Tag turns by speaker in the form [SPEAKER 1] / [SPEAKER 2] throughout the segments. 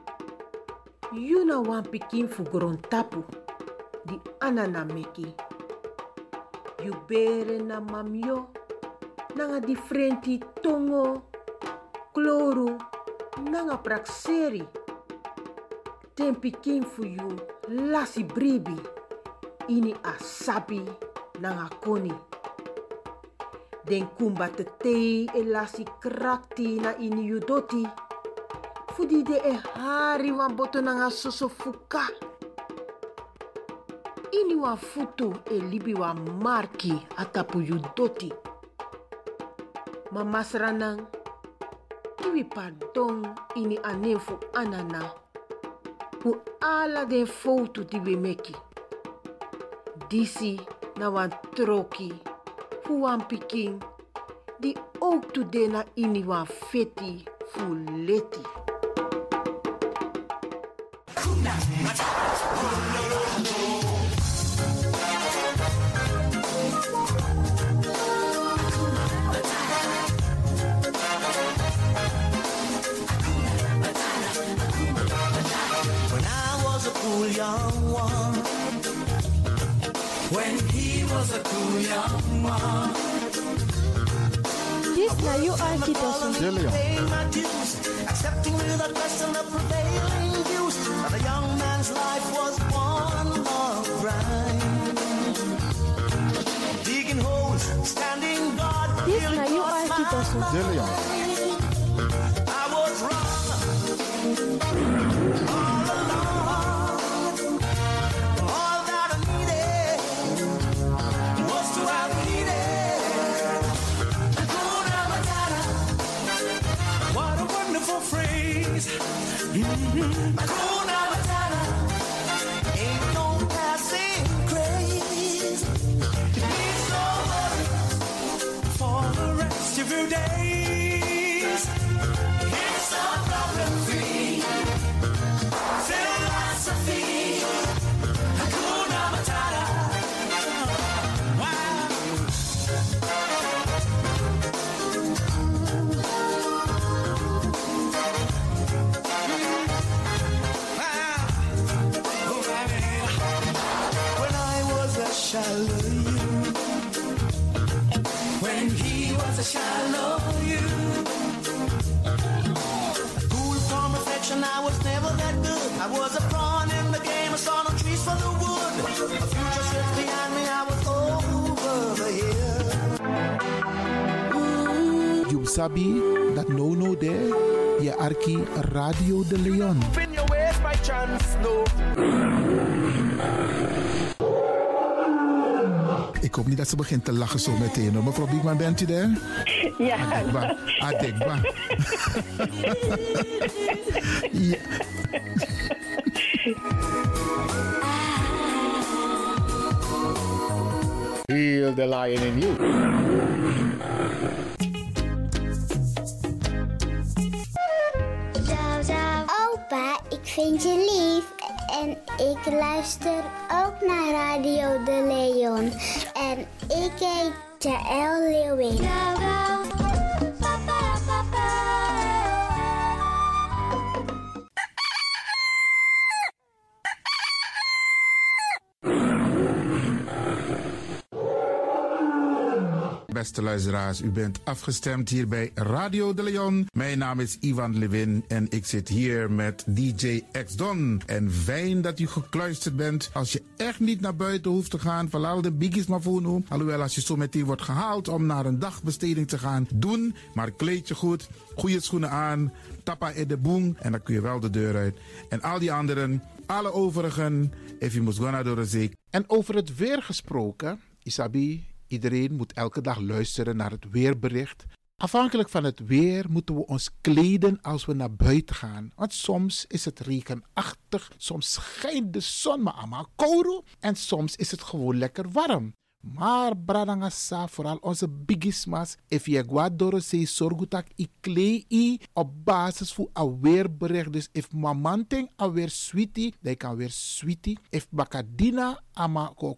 [SPEAKER 1] you know one pikin for Grontapu, the anana meki. You bere na mamyo, nanga differenti tongo, kloro, nanga prakseri. Ten pikin for you, lasi bribi, ini asabi, nanga koni. Den kumba te tei e lasi krakti na ini yudoti. Fudi de e hari wan boto nanga soso fuka. Ini wan futu e libi wan marki atapu yu doti. Mama sranang, kiwi pardon ini anen fu anana. Fu ala den foutu di we meki. Disi na wan troki, fu wan pikin, di ook tu de na ini wan feti fu leti.
[SPEAKER 2] When I was a cool young one. When he was a cool young one.
[SPEAKER 3] This na you Arkidosu.
[SPEAKER 2] Following
[SPEAKER 4] De Leon.
[SPEAKER 2] paying my dues, accepting without question the prevailing views. That a young man's life was one long grind. Digging holes, standing guard.
[SPEAKER 3] This
[SPEAKER 2] till it
[SPEAKER 3] na you
[SPEAKER 2] crossed my
[SPEAKER 3] Arkidosu.
[SPEAKER 4] De Leon.
[SPEAKER 2] I was wrong all along. All that I needed was to have needed. Hakuna Matata. What a wonderful phrase. Mhm. Hakuna Matata. Ain't no passing craze. It's over for the rest of your days. It's a problem-free philosophy. Hakuna Matata. Wow. Wow. Oh, baby. When I was a Shallow you, when he was a shallow you. Cool from reflection, I was never that good. I was a pawn in the game, I saw no trees for the wood. A future sits behind me, I was over the hill.
[SPEAKER 4] You sabi that no no there. Je Arki Radio de Leon.
[SPEAKER 2] In your ways by chance, no.
[SPEAKER 4] Ik hoop niet dat ze begint te lachen zo meteen. hoor. Mevrouw Biekman, bent u daar? Ah, Ja. Adekba. Adekba. ja.
[SPEAKER 5] Heal the lion in you.
[SPEAKER 6] Opa, ik vind je lief. En ik luister ook naar Radio De Leon. En ik heet Jaël Leeuwin.
[SPEAKER 4] Ik ben beste luisteraars. U bent afgestemd hier bij Radio de Leon. Mijn naam is Ivan Levin en ik zit hier met DJ X Don. En fijn dat u gekluisterd bent. Als je echt niet naar buiten hoeft te gaan, verlaal de biggies maar voor nu. Alhoewel, als je zo meteen wordt gehaald om naar een dagbesteding te gaan, doen. Maar kleed je goed, goede schoenen aan, tappa in de boom en dan kun je wel de deur uit. En al die anderen, alle overigen, if you must go naar door de zee. En over het weer gesproken, Isabi, iedereen moet elke dag luisteren naar het weerbericht. Afhankelijk van het weer moeten we ons kleden als we naar buiten gaan. Want soms is het regenachtig, soms schijnt de zon maar allemaal kouro en soms is het gewoon lekker warm. Maar bradangasa, vooral onze bigismas, if je guad dorose sorgutak i klei i op basis voor a weerbericht. Dus if mamanting a weer sweetie, dan kan weer sweetie. If bakadina ama ko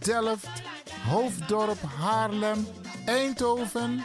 [SPEAKER 4] Delft, Hoofddorp, Haarlem, Eindhoven.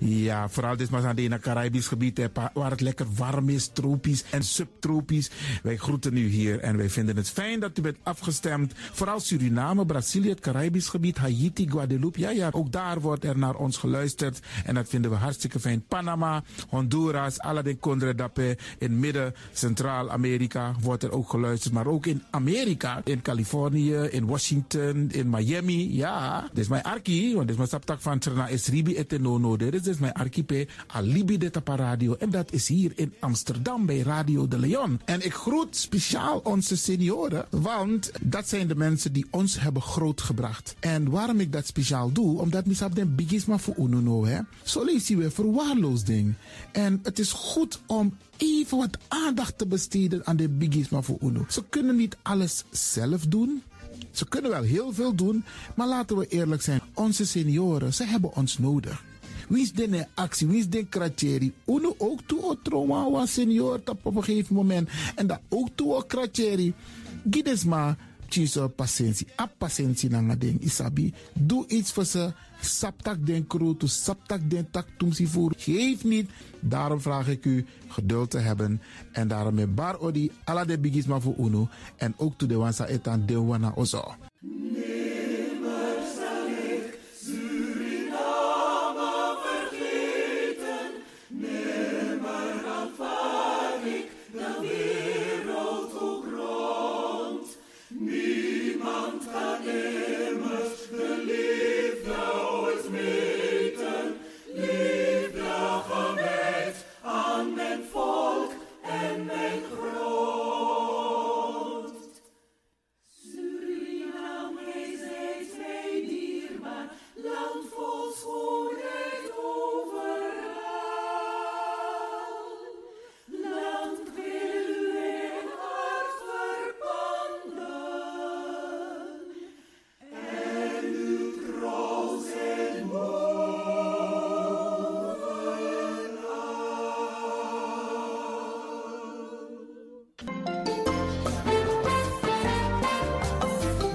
[SPEAKER 4] Ja, vooral dit maar aan het Caribisch gebied, hè, pa- waar het lekker warm is, tropisch en subtropisch. Wij groeten u hier en wij vinden het fijn dat u bent afgestemd. Vooral Suriname, Brazilië, het Caribisch gebied, Haiti, Guadeloupe. Ja, ja, ook daar wordt er naar ons geluisterd en dat vinden we hartstikke fijn. Panama, Honduras, Aladdin Condre Dapé, in midden, Centraal-Amerika wordt er ook geluisterd. Maar ook in Amerika, in Californië, in Washington, in Miami. Ja, dit is mijn arki, want dit is mijn saptak van Trana Esribi et Nono. Dit is dus mijn archipel Alibi de Tapa Radio. En dat is hier in Amsterdam bij Radio de Leon. En ik groet speciaal onze senioren, want dat zijn de mensen die ons hebben grootgebracht. En waarom ik dat speciaal doe, omdat misap den bigisma voor ununo, hè. Zo lezen we verwaarloosding. En het is goed om even wat aandacht te besteden aan de bigisma voor uno. Ze kunnen niet alles zelf doen. Ze kunnen wel heel veel doen, maar laten we eerlijk zijn. Onze senioren, ze hebben ons nodig. Wie is de actie? Wie is de kratjeri? Uno ook toe o trauma was senior tap op een gegeven moment. En dat ook toe o kratjeri. Gides maar, tjiso patiëntie. A patiëntie nanga ding isabi. Doe iets voor ze. Saptak den kroto, saptak den tak tumsi voor. Geef niet. Daarom vraag ik u geduld te hebben. En daarom met bar odi, ala de bigisma voor uno. En ook toe de wansa etan de wana ozo.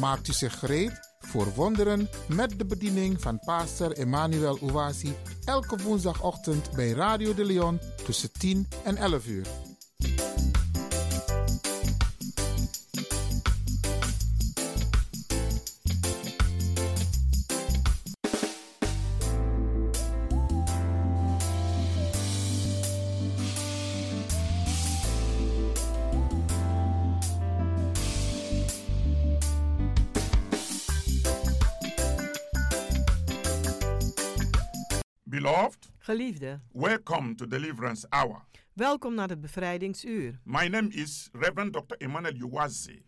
[SPEAKER 4] Maakt u zich gereed voor wonderen met de bediening van pastor Emmanuel Owasi elke woensdagochtend bij Radio de Leon tussen 10 en 11 uur.
[SPEAKER 7] Beloved,
[SPEAKER 8] Geliefde,
[SPEAKER 7] welcome to Deliverance Hour.
[SPEAKER 8] welkom naar het bevrijdingsuur.
[SPEAKER 7] My name is Reverend Dr. Emmanuel Uwazi,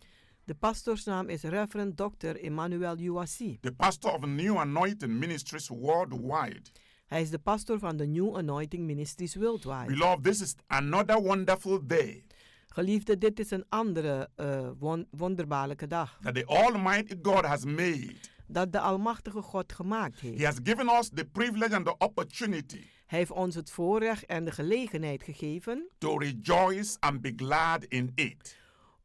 [SPEAKER 8] De pastorsnaam is Reverend Dr. Emmanuel Uwasi.
[SPEAKER 7] the pastor of New Anointing Ministries worldwide.
[SPEAKER 8] Hij is de pastor van de New Anointing Ministries Worldwide.
[SPEAKER 7] Beloved, this is another wonderful day
[SPEAKER 8] Geliefde, dit is een andere eh, won- wonderbaarlijke dag
[SPEAKER 7] that the Almighty God has made.
[SPEAKER 8] dat de Almachtige God gemaakt heeft.
[SPEAKER 7] He has given us the privilege and the opportunity
[SPEAKER 8] Hij heeft ons het voorrecht en de gelegenheid gegeven
[SPEAKER 7] to rejoice and be glad in it.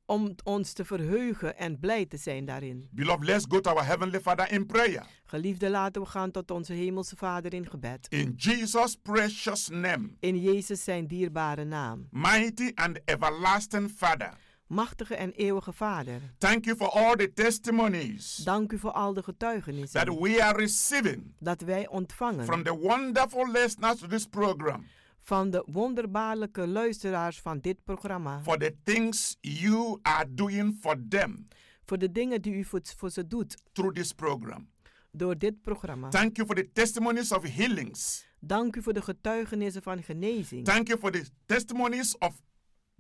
[SPEAKER 8] om ons te verheugen en blij te zijn daarin.
[SPEAKER 7] Beloved, let's go to our Heavenly Father in prayer.
[SPEAKER 8] Geliefde, laten we gaan tot onze Hemelse Vader in gebed.
[SPEAKER 7] In Jesus' precious name,
[SPEAKER 8] In Jezus zijn dierbare naam.
[SPEAKER 7] mighty and everlasting Father,
[SPEAKER 8] Machtige en eeuwige Vader,
[SPEAKER 7] thank you for all the testimonies
[SPEAKER 8] dank u voor al de
[SPEAKER 7] that
[SPEAKER 8] getuigenissen
[SPEAKER 7] we are receiving
[SPEAKER 8] dat wij ontvangen
[SPEAKER 7] from the wonderful listeners to this program
[SPEAKER 8] van de wonderbaarlijke luisteraars van dit programma.
[SPEAKER 7] for the things you are doing for them
[SPEAKER 8] Voor de dingen die u voor, voor ze doet
[SPEAKER 7] through this program.
[SPEAKER 8] door dit programma.
[SPEAKER 7] Thank you for the testimonies of healings.
[SPEAKER 8] Dank u voor de getuigenissen van genezing.
[SPEAKER 7] Thank you for the testimonies of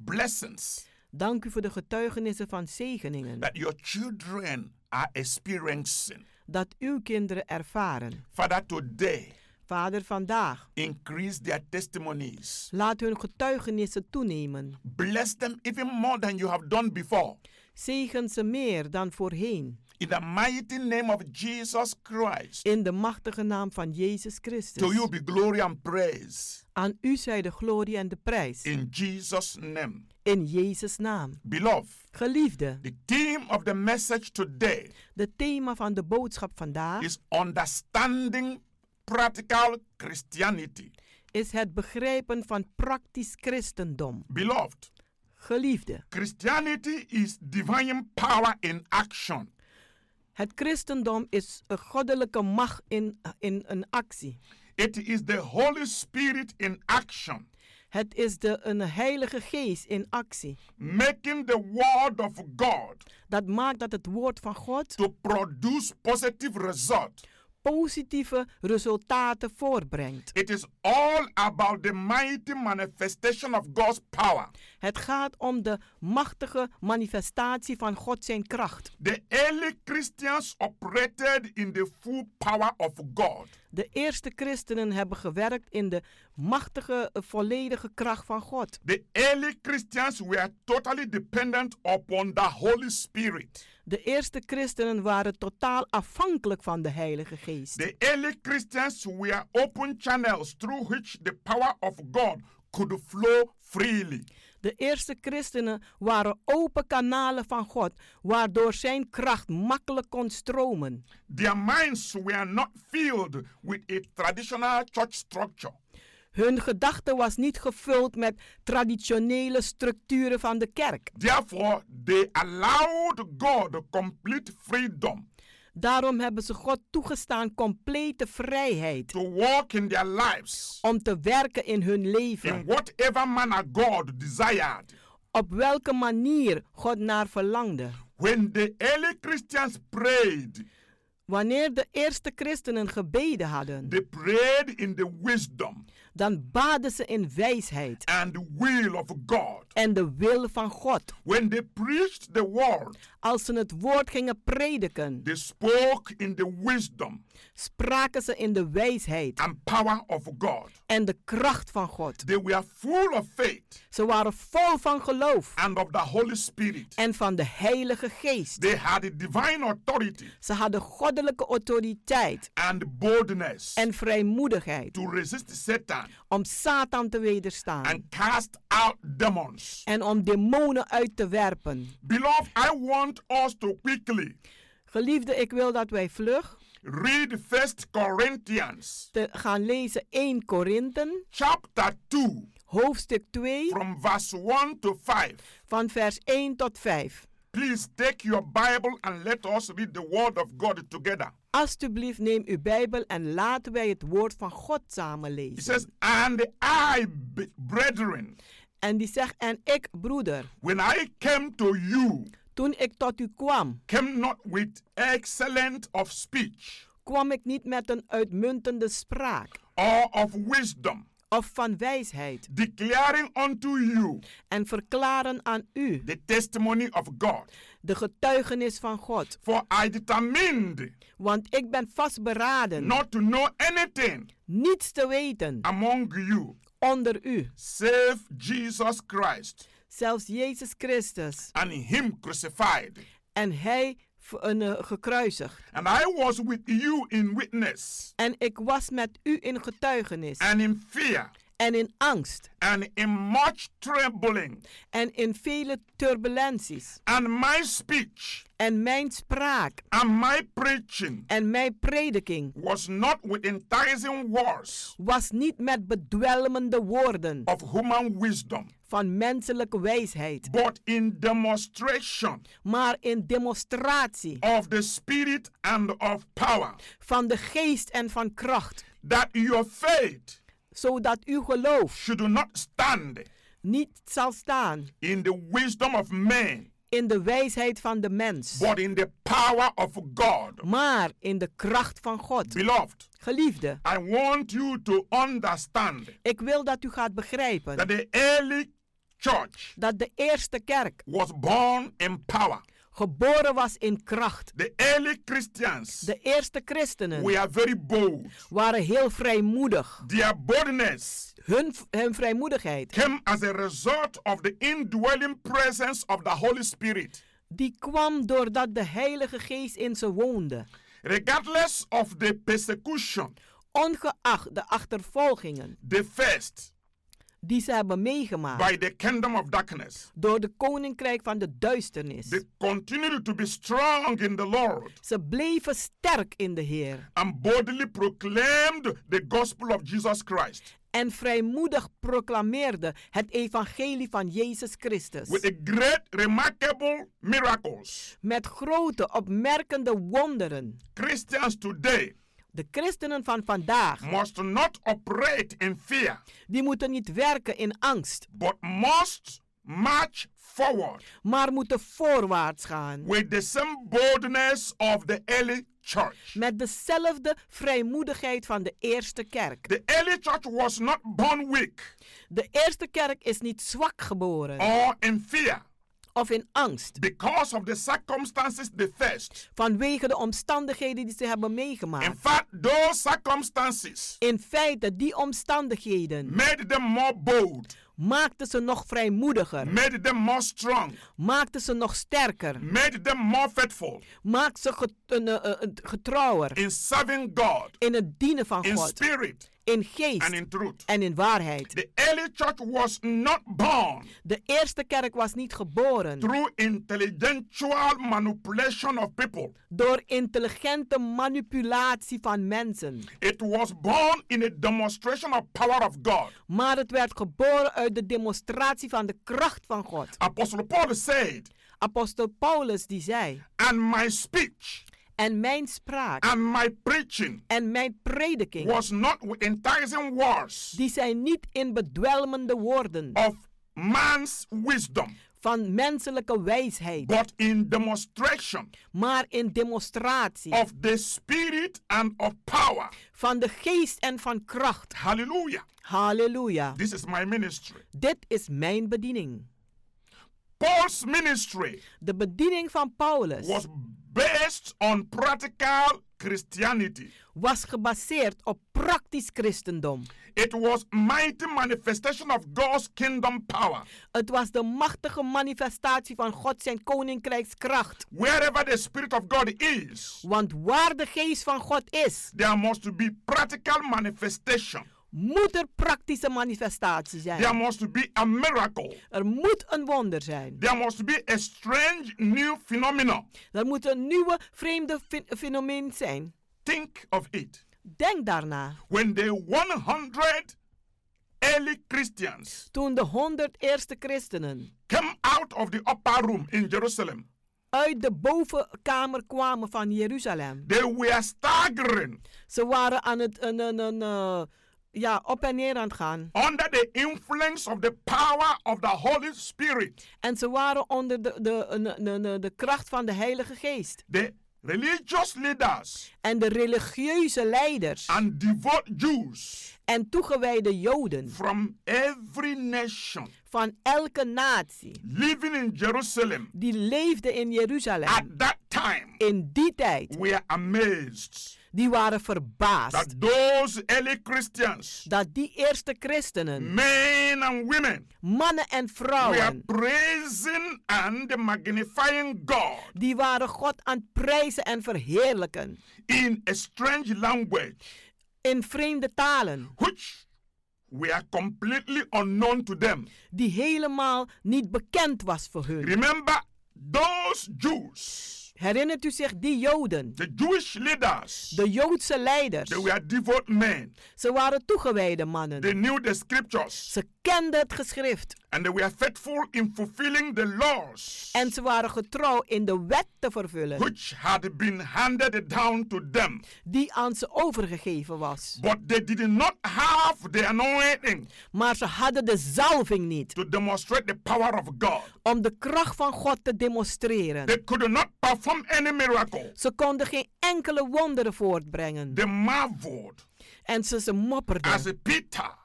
[SPEAKER 7] blessings
[SPEAKER 8] Dank u voor de getuigenissen van zegeningen
[SPEAKER 7] that your children are experiencing.
[SPEAKER 8] dat uw kinderen ervaren.
[SPEAKER 7] Father, today,
[SPEAKER 8] Vader, vandaag
[SPEAKER 7] increase their testimonies.
[SPEAKER 8] laat hun getuigenissen toenemen.
[SPEAKER 7] Bless them even more than you have done before.
[SPEAKER 8] Zegen ze meer dan voorheen.
[SPEAKER 7] In the mighty name of Jesus Christ,
[SPEAKER 8] In de machtige naam van
[SPEAKER 7] to
[SPEAKER 8] Jezus
[SPEAKER 7] you
[SPEAKER 8] Christus.
[SPEAKER 7] be glory and praise.
[SPEAKER 8] Aan u zij de glorie en de prijs.
[SPEAKER 7] In Jesus' name.
[SPEAKER 8] In Jezus' naam.
[SPEAKER 7] Beloved,
[SPEAKER 8] Geliefde,
[SPEAKER 7] The theme of the message today
[SPEAKER 8] de thema van de boodschap vandaag
[SPEAKER 7] is understanding practical Christianity.
[SPEAKER 8] is het begrijpen van praktisch christendom.
[SPEAKER 7] Beloved,
[SPEAKER 8] Geliefde,
[SPEAKER 7] Christianity is divine power in action.
[SPEAKER 8] het christendom is een goddelijke macht in, in een actie.
[SPEAKER 7] It is the Holy Spirit in action,
[SPEAKER 8] Het is de, een heilige geest in actie.
[SPEAKER 7] making the word of God
[SPEAKER 8] Dat maakt dat het woord van God
[SPEAKER 7] to produce positive result.
[SPEAKER 8] positieve resultaten voortbrengt.
[SPEAKER 7] It is all about the mighty manifestation of God's power.
[SPEAKER 8] Het gaat om de machtige manifestatie van God zijn kracht.
[SPEAKER 7] The early Christians operated in the full power of God.
[SPEAKER 8] De eerste christenen hebben gewerkt in de machtige, eh, volledige kracht van God.
[SPEAKER 7] The early Christians were totally dependent upon the Holy Spirit.
[SPEAKER 8] De eerste christenen waren totaal afhankelijk van de Heilige Geest.
[SPEAKER 7] The early Christians were open channels through which the power of God could flow freely.
[SPEAKER 8] De eerste christenen waren open kanalen van God, waardoor zijn kracht makkelijk kon stromen.
[SPEAKER 7] Their minds were not filled with a traditional church structure.
[SPEAKER 8] Hun gedachte was niet gevuld met traditionele structuren van de kerk.
[SPEAKER 7] Therefore, they allowed God complete freedom
[SPEAKER 8] Daarom hebben ze God toegestaan complete vrijheid.
[SPEAKER 7] To walk in their lives.
[SPEAKER 8] Om te werken in hun leven.
[SPEAKER 7] In whatever manner God desired.
[SPEAKER 8] Op welke manier God naar verlangde.
[SPEAKER 7] When the early Christians prayed.
[SPEAKER 8] Wanneer de eerste christenen gebeden hadden,
[SPEAKER 7] they prayed in the wisdom,
[SPEAKER 8] dan baden ze in wijsheid
[SPEAKER 7] and the will of God.
[SPEAKER 8] en de wil van God.
[SPEAKER 7] When they preached the word,
[SPEAKER 8] Als ze het woord gingen prediken,
[SPEAKER 7] they spoke in the wisdom
[SPEAKER 8] spraken ze in de wijsheid
[SPEAKER 7] and power of God.
[SPEAKER 8] en de kracht van God.
[SPEAKER 7] They were full of faith
[SPEAKER 8] Ze waren vol van geloof
[SPEAKER 7] and of the Holy Spirit.
[SPEAKER 8] en van de Heilige Geest.
[SPEAKER 7] They had a divine authority
[SPEAKER 8] Ze hadden goddelijke autoriteit
[SPEAKER 7] and boldness
[SPEAKER 8] en vrijmoedigheid
[SPEAKER 7] to resist Satan
[SPEAKER 8] om Satan te wederstaan
[SPEAKER 7] and cast out demons.
[SPEAKER 8] en om demonen uit te werpen.
[SPEAKER 7] Beloved, I want us to quickly
[SPEAKER 8] Geliefde, ik wil dat wij vlug
[SPEAKER 7] read First Corinthians
[SPEAKER 8] te gaan lezen 1 Korinthe,
[SPEAKER 7] chapter 2
[SPEAKER 8] hoofdstuk 2,
[SPEAKER 7] from verse 1 to 5.
[SPEAKER 8] van vers 1 tot 5.
[SPEAKER 7] Please take your Bible and let us read the word of God together.
[SPEAKER 8] Alsjeblieft, neem uw Bijbel en laten wij het woord van God samen
[SPEAKER 7] He
[SPEAKER 8] lezen.
[SPEAKER 7] says, And I, b- brethren,
[SPEAKER 8] En die zegt, en ik, broeder,
[SPEAKER 7] when I came to you,
[SPEAKER 8] toen ik tot u kwam,
[SPEAKER 7] came not with excellent of speech
[SPEAKER 8] kwam ik niet met een uitmuntende spraak
[SPEAKER 7] or of wisdom,
[SPEAKER 8] of van wijsheid
[SPEAKER 7] declaring unto you
[SPEAKER 8] en verklaren aan u
[SPEAKER 7] the testimony of God.
[SPEAKER 8] de getuigenis van God.
[SPEAKER 7] For I determined
[SPEAKER 8] Want ik ben vastberaden
[SPEAKER 7] not to know anything
[SPEAKER 8] niets te weten
[SPEAKER 7] among you
[SPEAKER 8] onder u,
[SPEAKER 7] save Jesus Christ
[SPEAKER 8] zelfs Jezus Christus
[SPEAKER 7] and Him crucified.
[SPEAKER 8] en hij v- een, eh, gekruisigd.
[SPEAKER 7] And I was with you in witness
[SPEAKER 8] En ik was met u in getuigenis
[SPEAKER 7] and in fear
[SPEAKER 8] en in angst
[SPEAKER 7] and in much trembling.
[SPEAKER 8] en in vele turbulenties.
[SPEAKER 7] And my speech
[SPEAKER 8] En mijn spraak
[SPEAKER 7] and my preaching
[SPEAKER 8] en mijn prediking
[SPEAKER 7] was not with enticing words
[SPEAKER 8] was niet met bedwelmende woorden
[SPEAKER 7] of human wisdom,
[SPEAKER 8] van menselijke wijsheid,
[SPEAKER 7] but in demonstration
[SPEAKER 8] maar in demonstratie
[SPEAKER 7] of the Spirit and of power,
[SPEAKER 8] van de geest en van kracht,
[SPEAKER 7] that your faith
[SPEAKER 8] zodat uw geloof
[SPEAKER 7] should not stand
[SPEAKER 8] niet zal staan
[SPEAKER 7] in the wisdom of men,
[SPEAKER 8] in de wijsheid van de mens,
[SPEAKER 7] but in the power of God.
[SPEAKER 8] maar in de kracht van God.
[SPEAKER 7] Beloved,
[SPEAKER 8] Geliefde,
[SPEAKER 7] I want you to understand
[SPEAKER 8] ik wil dat u gaat begrijpen
[SPEAKER 7] that the early church
[SPEAKER 8] dat de eerste kerk
[SPEAKER 7] was born in power.
[SPEAKER 8] geboren was in kracht.
[SPEAKER 7] The early Christians
[SPEAKER 8] De eerste christenen
[SPEAKER 7] were very bold.
[SPEAKER 8] waren heel vrijmoedig.
[SPEAKER 7] Their boldness
[SPEAKER 8] Hun, hun vrijmoedigheid
[SPEAKER 7] came as a result of the indwelling presence of the Holy Spirit.
[SPEAKER 8] die kwam doordat de Heilige Geest in ze woonde.
[SPEAKER 7] Regardless of the persecution
[SPEAKER 8] Ongeacht de achtervolgingen
[SPEAKER 7] they faced
[SPEAKER 8] die ze hebben meegemaakt
[SPEAKER 7] by the kingdom of darkness,
[SPEAKER 8] door de koninkrijk van de
[SPEAKER 7] They
[SPEAKER 8] duisternis.
[SPEAKER 7] continued to be strong in the Lord
[SPEAKER 8] Ze bleven sterk in de Heer
[SPEAKER 7] and boldly proclaimed the gospel of Jesus Christ
[SPEAKER 8] en vrijmoedig proclameerden het evangelie van Jezus
[SPEAKER 7] with
[SPEAKER 8] Christus.
[SPEAKER 7] a great, remarkable miracles.
[SPEAKER 8] Met grote, opmerkende wonderen.
[SPEAKER 7] Christians today
[SPEAKER 8] De christenen van vandaag,
[SPEAKER 7] must not operate in fear,
[SPEAKER 8] die moeten niet werken in angst,
[SPEAKER 7] but must march forward
[SPEAKER 8] maar moeten voorwaarts gaan.
[SPEAKER 7] with the same boldness of the early church.
[SPEAKER 8] Met dezelfde vrijmoedigheid van de eerste kerk.
[SPEAKER 7] The early church was not born weak Oh.
[SPEAKER 8] De eerste kerk is niet zwak geboren
[SPEAKER 7] or in fear
[SPEAKER 8] of in angst
[SPEAKER 7] because of the circumstances they faced.
[SPEAKER 8] vanwege de omstandigheden die ze hebben
[SPEAKER 7] In
[SPEAKER 8] meegemaakt.
[SPEAKER 7] fact, those circumstances
[SPEAKER 8] In feite, die omstandigheden
[SPEAKER 7] made them more bold,
[SPEAKER 8] maakten ze nog vrijmoediger,
[SPEAKER 7] made them more strong,
[SPEAKER 8] maakten ze nog sterker,
[SPEAKER 7] made them more faithful
[SPEAKER 8] maakten ze get- een, eh, eh, getrouwer
[SPEAKER 7] in serving God
[SPEAKER 8] in het dienen van
[SPEAKER 7] in
[SPEAKER 8] God,
[SPEAKER 7] spirit
[SPEAKER 8] in
[SPEAKER 7] and
[SPEAKER 8] geest
[SPEAKER 7] in truth.
[SPEAKER 8] en in waarheid.
[SPEAKER 7] The early church was not born
[SPEAKER 8] De eerste kerk was niet geboren
[SPEAKER 7] through intellectual manipulation of people.
[SPEAKER 8] door intelligente manipulatie van mensen,
[SPEAKER 7] It was born in a demonstration of power of God.
[SPEAKER 8] maar het werd geboren uit de demonstratie van de kracht van God.
[SPEAKER 7] Apostle Paul said,
[SPEAKER 8] Apostel Paulus die zei,
[SPEAKER 7] "And my speech
[SPEAKER 8] en En mijn spraak.
[SPEAKER 9] And my preaching
[SPEAKER 8] en mijn prediking.
[SPEAKER 9] was not with enticing words
[SPEAKER 8] die zijn niet in bedwelmende woorden.
[SPEAKER 9] of man's wisdom,
[SPEAKER 8] van menselijke wijsheid.
[SPEAKER 9] but in demonstration
[SPEAKER 8] maar in demonstratie.
[SPEAKER 9] of the spirit and of power.
[SPEAKER 8] van de geest en van kracht.
[SPEAKER 9] Hallelujah.
[SPEAKER 8] Halleluja.
[SPEAKER 9] This is my ministry.
[SPEAKER 8] Dit is mijn bediening.
[SPEAKER 9] Paul's ministry
[SPEAKER 8] De bediening van Paulus
[SPEAKER 9] was based on practical Christianity.
[SPEAKER 8] was gebaseerd op praktisch christendom.
[SPEAKER 9] It was mighty manifestation of God's kingdom power.
[SPEAKER 8] Het was de machtige manifestatie van God zijn koninkrijkskracht.
[SPEAKER 9] Wherever the spirit of God is,
[SPEAKER 8] Want waar de geest van God is,
[SPEAKER 9] there must be practical manifestation.
[SPEAKER 8] moet er praktische manifestatie
[SPEAKER 9] There
[SPEAKER 8] zijn.
[SPEAKER 9] must be a miracle.
[SPEAKER 8] Er moet een wonder zijn.
[SPEAKER 9] There must be a strange new phenomenon.
[SPEAKER 8] Er moet een nieuwe vreemde fe- fenomeen zijn.
[SPEAKER 9] Think of it.
[SPEAKER 8] Denk daarna.
[SPEAKER 9] When the 100 early Christians
[SPEAKER 8] Toen de 100 eerste christenen
[SPEAKER 9] came out of the upper room in Jerusalem,
[SPEAKER 8] uit de bovenkamer kwamen van Jeruzalem.
[SPEAKER 9] they were staggering
[SPEAKER 8] Ze waren aan het een, een, een, eh, ja, op en neer aan het gaan.
[SPEAKER 9] under the influence of the power of the Holy Spirit.
[SPEAKER 8] En ze waren onder de, de, een- een- een- de kracht van de Heilige Geest.
[SPEAKER 9] The religious leaders
[SPEAKER 8] En de religieuze leiders
[SPEAKER 9] and devout Jews
[SPEAKER 8] en toegewijde Joden
[SPEAKER 9] from every nation
[SPEAKER 8] van elke natie
[SPEAKER 9] living in Jerusalem
[SPEAKER 8] die leefden in Jeruzalem
[SPEAKER 9] at that time
[SPEAKER 8] in die tijd,
[SPEAKER 9] were amazed
[SPEAKER 8] die waren verbaasd
[SPEAKER 9] that those early Christians,
[SPEAKER 8] dat die eerste christenen,
[SPEAKER 9] men and women,
[SPEAKER 8] mannen en
[SPEAKER 9] were
[SPEAKER 8] vrouwen,
[SPEAKER 9] praising and magnifying God
[SPEAKER 8] die waren God aan het prijzen en verheerlijken
[SPEAKER 9] in a strange language
[SPEAKER 8] in vreemde talen
[SPEAKER 9] which were completely unknown to them.
[SPEAKER 8] die helemaal niet bekend was voor hun.
[SPEAKER 9] Remember, those Jews,
[SPEAKER 8] Herinnert u zich die Joden,
[SPEAKER 9] the Jewish leaders,
[SPEAKER 8] de Joodse leiders?
[SPEAKER 9] they were devout men.
[SPEAKER 8] Ze waren toegewijde mannen.
[SPEAKER 9] They knew the scriptures
[SPEAKER 8] Ze kenden het geschrift
[SPEAKER 9] and they were faithful in fulfilling the laws
[SPEAKER 8] en ze waren getrouw in de wet te vervullen
[SPEAKER 9] which had been handed down to them.
[SPEAKER 8] die aan ze overgegeven was.
[SPEAKER 9] But they did not have the anointing
[SPEAKER 8] Maar ze hadden de zalving niet
[SPEAKER 9] to demonstrate the power of God.
[SPEAKER 8] om de kracht van God te demonstreren.
[SPEAKER 9] They could not perform any miracle.
[SPEAKER 8] Ze konden geen enkele wonderen voortbrengen
[SPEAKER 9] They marveled
[SPEAKER 8] en ze ze
[SPEAKER 9] as
[SPEAKER 8] mopperden.
[SPEAKER 9] a Peter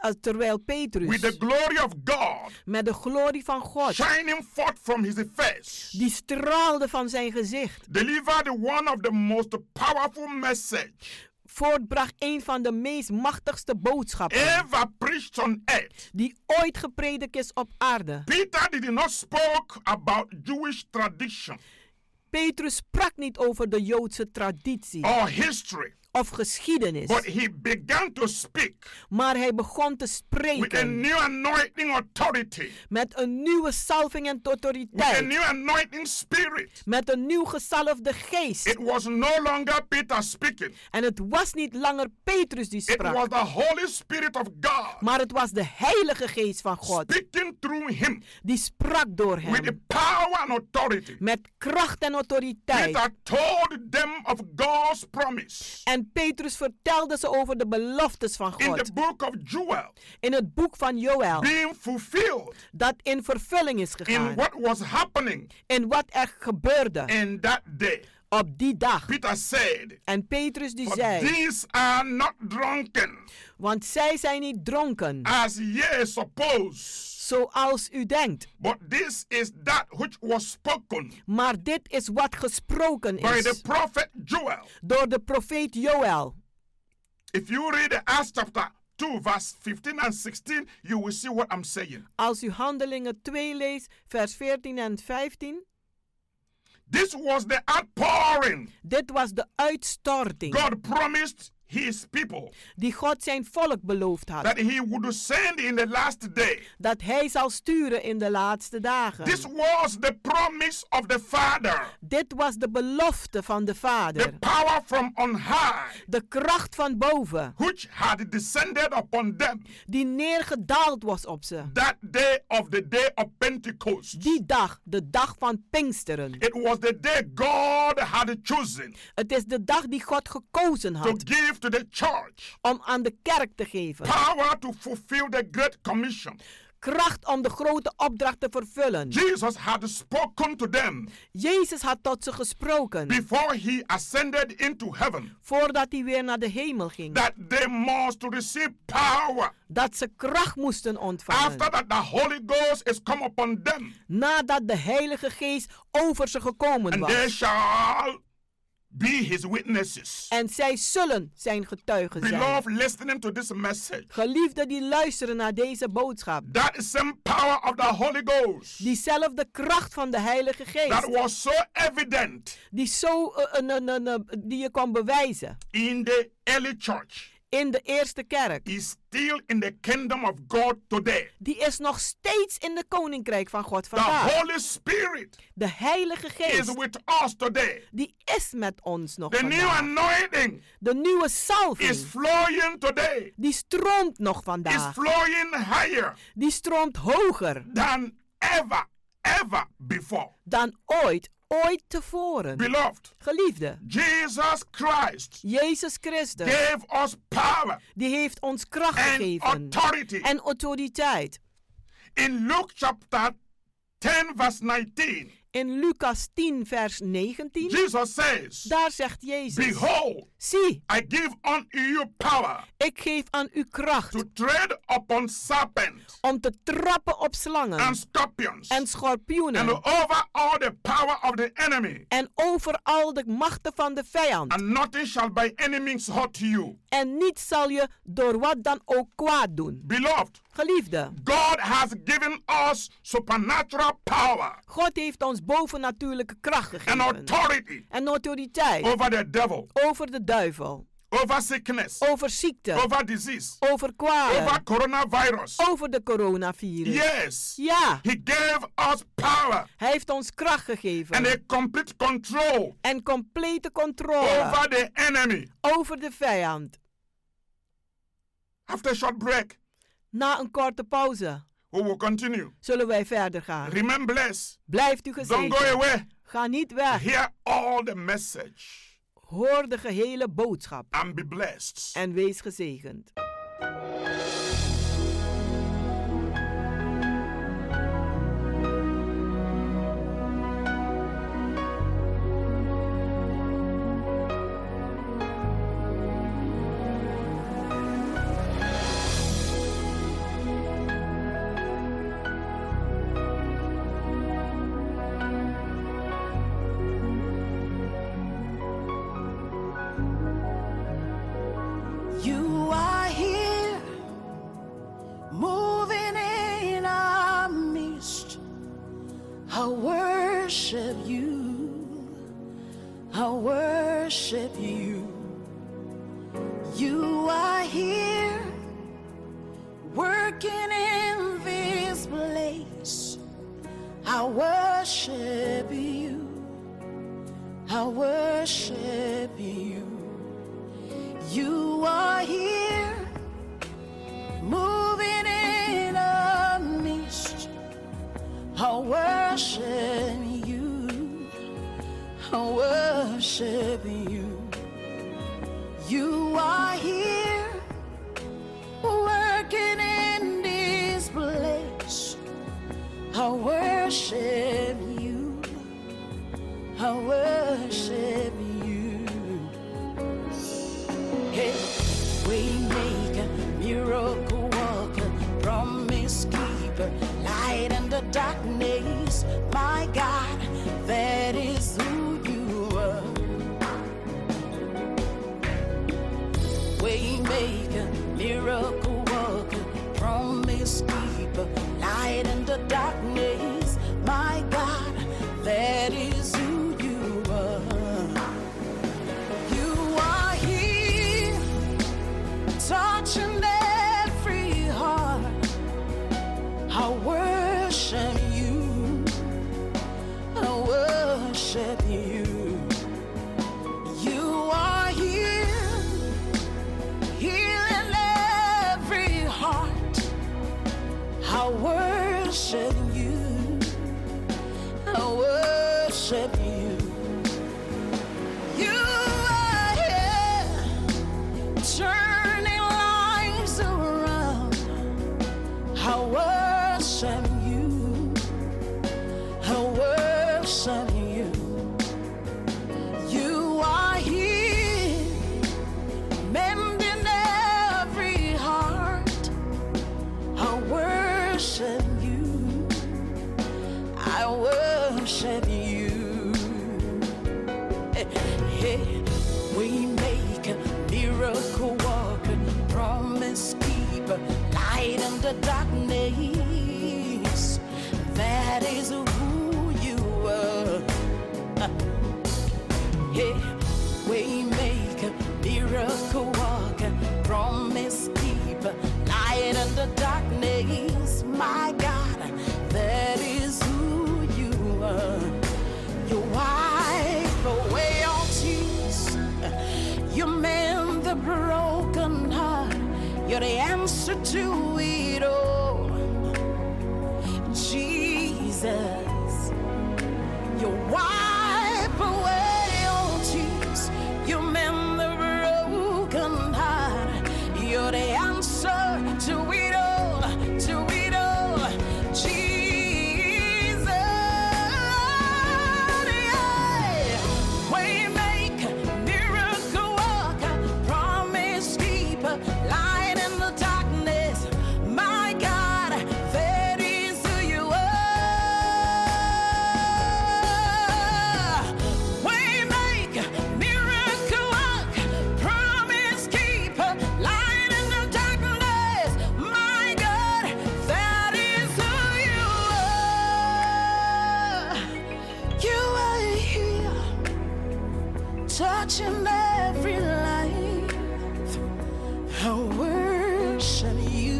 [SPEAKER 8] Als- Terwijl
[SPEAKER 9] with the
[SPEAKER 8] Petrus
[SPEAKER 9] glory of God
[SPEAKER 8] met de glorie van God
[SPEAKER 9] shining forth from his face
[SPEAKER 8] die straalde van zijn gezicht.
[SPEAKER 9] delivered one of the most powerful message
[SPEAKER 8] Voortbracht een van de meest machtigste boodschappen
[SPEAKER 9] ever preached on earth.
[SPEAKER 8] die ooit gepredikt is op aarde.
[SPEAKER 9] Peter did not spoke about Jewish tradition
[SPEAKER 8] Petrus sprak niet over de Joodse traditie
[SPEAKER 9] or history,
[SPEAKER 8] of geschiedenis,
[SPEAKER 9] but he began to speak
[SPEAKER 8] maar hij begon te
[SPEAKER 9] with a
[SPEAKER 8] spreken
[SPEAKER 9] new anointing authority,
[SPEAKER 8] met een nieuwe salving en
[SPEAKER 9] with a
[SPEAKER 8] autoriteit,
[SPEAKER 9] new anointing spirit.
[SPEAKER 8] met een nieuw gezalfde geest.
[SPEAKER 9] It was no longer Peter speaking.
[SPEAKER 8] En het was niet langer Petrus die
[SPEAKER 9] It was
[SPEAKER 8] sprak,
[SPEAKER 9] the Holy Spirit of God
[SPEAKER 8] maar het was de Heilige Geest van God
[SPEAKER 9] speaking through him
[SPEAKER 8] die sprak door
[SPEAKER 9] with the
[SPEAKER 8] hem
[SPEAKER 9] power and authority.
[SPEAKER 8] met kracht en autoriteit.
[SPEAKER 9] Peter told them of God's promise
[SPEAKER 8] En Petrus vertelde ze over de beloftes van
[SPEAKER 9] in the
[SPEAKER 8] God Oh.
[SPEAKER 9] book of Joel
[SPEAKER 8] in het boek van Joël,
[SPEAKER 9] being fulfilled
[SPEAKER 8] dat in vervulling is
[SPEAKER 9] in
[SPEAKER 8] gegaan
[SPEAKER 9] what was happening
[SPEAKER 8] en wat er gebeurde
[SPEAKER 9] in that day.
[SPEAKER 8] op die dag.
[SPEAKER 9] Peter said,
[SPEAKER 8] En Petrus die
[SPEAKER 9] But
[SPEAKER 8] zei,
[SPEAKER 9] these are not drunken
[SPEAKER 8] want zij zijn niet dronken,
[SPEAKER 9] as ye suppose,
[SPEAKER 8] zoals u denkt.
[SPEAKER 9] but this is that which was spoken
[SPEAKER 8] Maar dit is wat gesproken
[SPEAKER 9] by the
[SPEAKER 8] is
[SPEAKER 9] prophet Joel.
[SPEAKER 8] door de profeet Joël.
[SPEAKER 9] If you read Acts chapter 2, verse 15 and 16, you will see what I'm saying.
[SPEAKER 8] Als u Handelingen 2 leest, vers 14 en 15,
[SPEAKER 9] This was the outpouring
[SPEAKER 8] dit was de uitstorting
[SPEAKER 9] God promised his people.
[SPEAKER 8] Die God zijn volk beloofd had.
[SPEAKER 9] That he would send in the last day.
[SPEAKER 8] Dat hij zal sturen in de laatste dagen.
[SPEAKER 9] This was the promise of the Father.
[SPEAKER 8] Dit was de belofte van de
[SPEAKER 9] The
[SPEAKER 8] Vader.
[SPEAKER 9] power from on high
[SPEAKER 8] De kracht van boven.
[SPEAKER 9] which had descended upon them
[SPEAKER 8] Die neergedaald was op ze.
[SPEAKER 9] that day of the day of Pentecost.
[SPEAKER 8] Die dag, de dag van Pinksteren.
[SPEAKER 9] It was the day God had chosen
[SPEAKER 8] Het is de dag die God gekozen
[SPEAKER 9] to
[SPEAKER 8] had
[SPEAKER 9] give to the church
[SPEAKER 8] om aan de kerk te geven.
[SPEAKER 9] power to fulfill the great commission.
[SPEAKER 8] Kracht om de grote opdracht te vervullen.
[SPEAKER 9] Jesus had spoken to them
[SPEAKER 8] Jezus had tot ze gesproken
[SPEAKER 9] before he ascended into heaven
[SPEAKER 8] voordat hij weer naar de hemel ging.
[SPEAKER 9] that they must receive power
[SPEAKER 8] Dat ze kracht moesten
[SPEAKER 9] after
[SPEAKER 8] ontvangen
[SPEAKER 9] that the Holy Ghost is come upon them
[SPEAKER 8] nadat de Heilige Geest over ze gekomen
[SPEAKER 9] and they
[SPEAKER 8] was.
[SPEAKER 9] shall be his witnesses.
[SPEAKER 8] En zij zullen zijn getuigen zijn.
[SPEAKER 9] Beloved, listening to this message,
[SPEAKER 8] Geliefden die luisteren naar deze boodschap.
[SPEAKER 9] that same power of the Holy Ghost
[SPEAKER 8] Diezelfde kracht van de Heilige
[SPEAKER 9] that
[SPEAKER 8] Geest.
[SPEAKER 9] was so evident
[SPEAKER 8] Die, zo, eh, eh, eh, eh, eh, die je kon bewijzen
[SPEAKER 9] in the early church
[SPEAKER 8] in de eerste kerk.
[SPEAKER 9] is still in the kingdom of God today.
[SPEAKER 8] die is nog steeds in de koninkrijk van God
[SPEAKER 9] The
[SPEAKER 8] vandaag.
[SPEAKER 9] Holy Spirit
[SPEAKER 8] De Heilige
[SPEAKER 9] Nou, is
[SPEAKER 8] Geest,
[SPEAKER 9] with us today.
[SPEAKER 8] die is met ons nog
[SPEAKER 9] The new
[SPEAKER 8] vandaag.
[SPEAKER 9] anointing
[SPEAKER 8] De nieuwe
[SPEAKER 9] is
[SPEAKER 8] salving,
[SPEAKER 9] flowing today.
[SPEAKER 8] die stroomt nog
[SPEAKER 9] Is
[SPEAKER 8] vandaag.
[SPEAKER 9] flowing higher
[SPEAKER 8] Die stroomt hoger
[SPEAKER 9] than ever, ever before.
[SPEAKER 8] dan ooit, ooit tevoren.
[SPEAKER 9] Beloved,
[SPEAKER 8] Geliefde,
[SPEAKER 9] Jesus Christ
[SPEAKER 8] Jezus Christus,
[SPEAKER 9] gave us power
[SPEAKER 8] die heeft ons kracht
[SPEAKER 9] and
[SPEAKER 8] gegeven
[SPEAKER 9] authority.
[SPEAKER 8] en autoriteit.
[SPEAKER 9] In Luke chapter 10, verse 19,
[SPEAKER 8] In Lucas 10, vers 19,
[SPEAKER 9] Jesus says,
[SPEAKER 8] daar zegt Jezus,
[SPEAKER 9] Behold,
[SPEAKER 8] zie,
[SPEAKER 9] I give unto you power
[SPEAKER 8] ik geef aan u kracht
[SPEAKER 9] to tread upon serpents
[SPEAKER 8] om te trappen op slangen
[SPEAKER 9] and scorpions
[SPEAKER 8] en
[SPEAKER 9] and
[SPEAKER 8] schorpioenen
[SPEAKER 9] over all the power of the enemy,
[SPEAKER 8] en over al de machten van de vijand.
[SPEAKER 9] and nothing shall by any means hurt you.
[SPEAKER 8] En niet zal je door wat dan ook kwaad doen.
[SPEAKER 9] Beloved,
[SPEAKER 8] Geliefde,
[SPEAKER 9] God has given us supernatural power
[SPEAKER 8] God heeft ons bovennatuurlijke kracht
[SPEAKER 9] and
[SPEAKER 8] gegeven
[SPEAKER 9] authority
[SPEAKER 8] en autoriteit
[SPEAKER 9] over the devil,
[SPEAKER 8] over de duivel,
[SPEAKER 9] over sickness,
[SPEAKER 8] over ziekte,
[SPEAKER 9] over disease,
[SPEAKER 8] over
[SPEAKER 9] over
[SPEAKER 8] kwaad,
[SPEAKER 9] coronavirus.
[SPEAKER 8] over de coronavirus.
[SPEAKER 9] Yes,
[SPEAKER 8] Ja,
[SPEAKER 9] He gave us power
[SPEAKER 8] hij heeft ons kracht
[SPEAKER 9] and a
[SPEAKER 8] gegeven
[SPEAKER 9] complete control
[SPEAKER 8] en complete controle
[SPEAKER 9] over the enemy.
[SPEAKER 8] over de vijand.
[SPEAKER 9] After a short break,
[SPEAKER 8] Na een korte pauze
[SPEAKER 9] we will continue.
[SPEAKER 8] zullen wij verder gaan.
[SPEAKER 9] Remain blessed.
[SPEAKER 8] Blijft u
[SPEAKER 9] Don't go
[SPEAKER 8] gezegend.
[SPEAKER 9] away.
[SPEAKER 8] Ga niet weg.
[SPEAKER 9] Hear all the message
[SPEAKER 8] Hoor de gehele boodschap.
[SPEAKER 9] and be blessed.
[SPEAKER 8] en wees gezegend.
[SPEAKER 2] You are here, moving in our midst. I worship you. I worship you. You are here, working in this place. I worship you. I worship you. You are here, moving in a mist. I worship you. I worship you. You are here, working in this place. I worship you. I worship you. Hey, we make a miracle worker, promise keeper, light in the darkness. My God, that is who you are. We make a miracle worker, promise keeper, light in the darkness. My God, that is who you are. You are here, Eh, the darkness. That is who you are. Eh, Hey, waymaker, miracle walker, promise keeper, light in the darkness. My God, that is who you are. You wipe away all tears. You mend the broken heart. You're the answer to it all. Jesus, you wipe away all tears. You mend the broken heart. You're the answer to it all. To it all, Jesus. Waymaker, miracle worker, promise keeper, light in the darkness. My God, that is who you are. Waymaker, miracle worker, promise keeper, light in the darkness. My God, that is who you are. You are here touching every life. I worship you.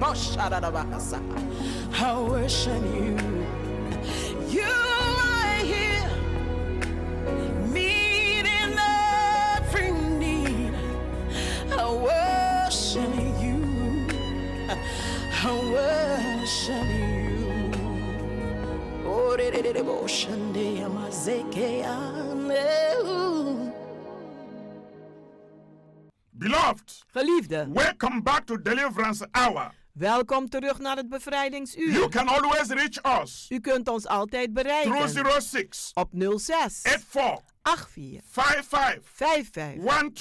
[SPEAKER 2] Boshadadabasa. I worship you. You are here, meeting every need. I worship you. I worship you. Oh, de- de- de- de- boshande amazekeane.
[SPEAKER 7] Beloved,
[SPEAKER 8] Geliefde,
[SPEAKER 7] welcome back to Deliverance Hour.
[SPEAKER 8] welkom terug naar het bevrijdingsuur.
[SPEAKER 7] You can always reach us
[SPEAKER 8] U kunt ons altijd bereiken
[SPEAKER 7] through 06
[SPEAKER 8] op 06
[SPEAKER 7] 84
[SPEAKER 8] 84
[SPEAKER 7] 55
[SPEAKER 8] 55
[SPEAKER 7] 13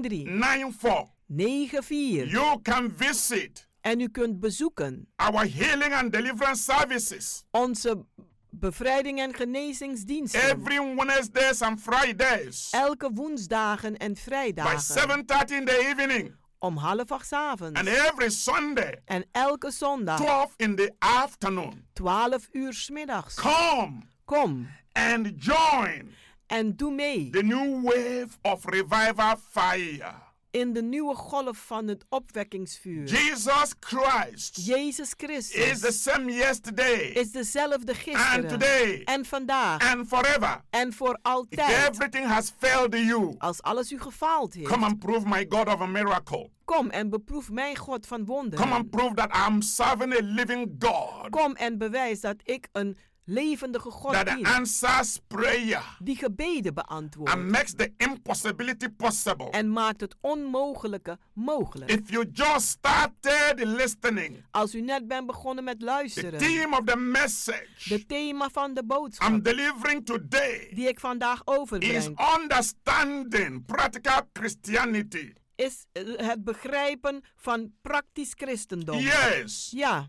[SPEAKER 8] 13
[SPEAKER 7] 94.
[SPEAKER 8] 94.
[SPEAKER 7] You can visit
[SPEAKER 8] En u kunt bezoeken
[SPEAKER 7] our healing and deliverance services
[SPEAKER 8] onze bevrijding en genezingsdiensten.
[SPEAKER 7] every Wednesdays and Fridays
[SPEAKER 8] Elke woensdagen en
[SPEAKER 7] by
[SPEAKER 8] vrijdagen
[SPEAKER 7] 7:30 in the evening
[SPEAKER 8] om half acht 's
[SPEAKER 7] and
[SPEAKER 8] avonds.
[SPEAKER 7] every Sunday
[SPEAKER 8] En elke zondag
[SPEAKER 7] 12 in the afternoon.
[SPEAKER 8] 12 uur 's middags.
[SPEAKER 7] Come
[SPEAKER 8] Kom
[SPEAKER 7] and join
[SPEAKER 8] en doe mee
[SPEAKER 7] the new wave of revival fire.
[SPEAKER 8] in de nieuwe golf van het opwekkingsvuur.
[SPEAKER 7] Jesus Christ
[SPEAKER 8] Jezus
[SPEAKER 7] is the
[SPEAKER 8] Christus
[SPEAKER 7] same yesterday
[SPEAKER 8] is dezelfde
[SPEAKER 7] and today
[SPEAKER 8] gisteren en vandaag
[SPEAKER 7] and forever.
[SPEAKER 8] en voor
[SPEAKER 7] If
[SPEAKER 8] altijd.
[SPEAKER 7] everything has failed you,
[SPEAKER 8] Als alles u gefaald heeft,
[SPEAKER 7] come and prove my God of a miracle.
[SPEAKER 8] kom en beproef mijn God van
[SPEAKER 7] Come and
[SPEAKER 8] wonderen.
[SPEAKER 7] prove that I'm serving a living God
[SPEAKER 8] Kom en bewijs dat ik een levendige God
[SPEAKER 7] that
[SPEAKER 8] dien
[SPEAKER 7] answers prayer
[SPEAKER 8] die gebeden
[SPEAKER 7] and
[SPEAKER 8] beantwoordt
[SPEAKER 7] makes the impossibility possible.
[SPEAKER 8] en maakt het onmogelijke mogelijk.
[SPEAKER 7] If you just started listening,
[SPEAKER 8] Als u net bent begonnen met
[SPEAKER 7] the
[SPEAKER 8] luisteren,
[SPEAKER 7] theme of the message
[SPEAKER 8] de thema van de
[SPEAKER 7] I'm
[SPEAKER 8] boodschap
[SPEAKER 7] delivering today
[SPEAKER 8] die ik vandaag
[SPEAKER 7] is
[SPEAKER 8] overbreng
[SPEAKER 7] understanding practical Christianity.
[SPEAKER 8] is eh, het begrijpen van praktisch christendom.
[SPEAKER 7] Yes.
[SPEAKER 8] Ja,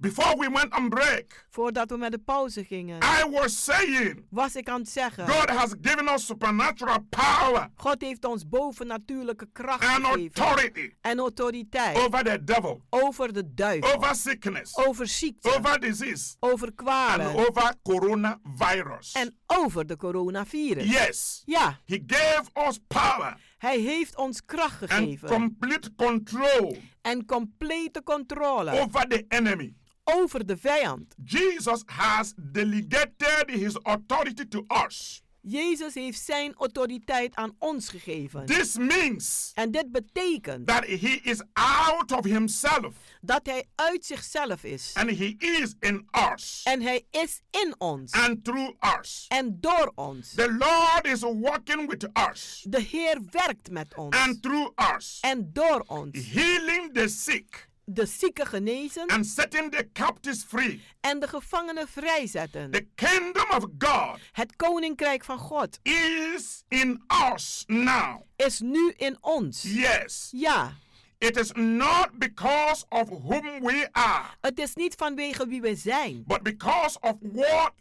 [SPEAKER 7] Before we went on break,
[SPEAKER 8] voordat we met de pauze gingen,
[SPEAKER 7] I was saying
[SPEAKER 8] was ik aan het zeggen:
[SPEAKER 7] God has given us supernatural power
[SPEAKER 8] God heeft ons bovennatuurlijke kracht
[SPEAKER 7] and
[SPEAKER 8] gegeven
[SPEAKER 7] authority
[SPEAKER 8] en autoriteit
[SPEAKER 7] over the devil,
[SPEAKER 8] over de duivel,
[SPEAKER 7] over sickness,
[SPEAKER 8] over ziekte,
[SPEAKER 7] over disease,
[SPEAKER 8] over
[SPEAKER 7] and
[SPEAKER 8] kwalen
[SPEAKER 7] over coronavirus.
[SPEAKER 8] en over de coronavirus.
[SPEAKER 7] Yes.
[SPEAKER 8] Ja,
[SPEAKER 7] He gave us power
[SPEAKER 8] hij heeft ons kracht
[SPEAKER 7] and
[SPEAKER 8] gegeven
[SPEAKER 7] complete control
[SPEAKER 8] en complete controle
[SPEAKER 7] over the enemy.
[SPEAKER 8] over de vijand.
[SPEAKER 7] Jesus has delegated his authority to us.
[SPEAKER 8] Jezus heeft zijn autoriteit aan ons gegeven.
[SPEAKER 7] This means
[SPEAKER 8] En dit betekent
[SPEAKER 7] that he is out of himself
[SPEAKER 8] dat hij uit zichzelf is.
[SPEAKER 7] and he is in us
[SPEAKER 8] En hij is in ons
[SPEAKER 7] and through us.
[SPEAKER 8] en door ons.
[SPEAKER 7] The Lord is working with us
[SPEAKER 8] De Heer werkt met ons
[SPEAKER 7] and through us,
[SPEAKER 8] en door ons.
[SPEAKER 7] healing the sick
[SPEAKER 8] De zieken genezen
[SPEAKER 7] and setting the captives free.
[SPEAKER 8] en de gevangenen vrijzetten.
[SPEAKER 7] The kingdom of God
[SPEAKER 8] Het koninkrijk van God
[SPEAKER 7] is in us now.
[SPEAKER 8] is nu in ons.
[SPEAKER 7] Yes,
[SPEAKER 8] Ja,
[SPEAKER 7] it is not because of whom we are,
[SPEAKER 8] het is niet vanwege wie we zijn,
[SPEAKER 7] but because of what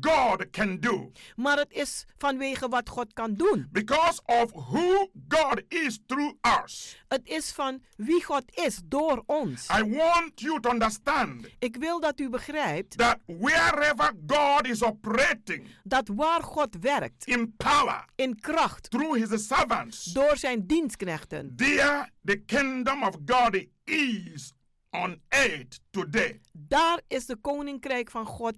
[SPEAKER 7] God can do.
[SPEAKER 8] Maar het is vanwege wat God kan doen.
[SPEAKER 7] Because of who God is through us.
[SPEAKER 8] Het is van wie God is door ons.
[SPEAKER 7] I want you to understand
[SPEAKER 8] Ik wil dat u begrijpt
[SPEAKER 7] that wherever God is operating
[SPEAKER 8] dat waar God werkt
[SPEAKER 7] in power
[SPEAKER 8] in kracht
[SPEAKER 7] through his servants,
[SPEAKER 8] door zijn dienstknechten,
[SPEAKER 7] there the kingdom of God is on earth today.
[SPEAKER 8] daar is de koninkrijk van God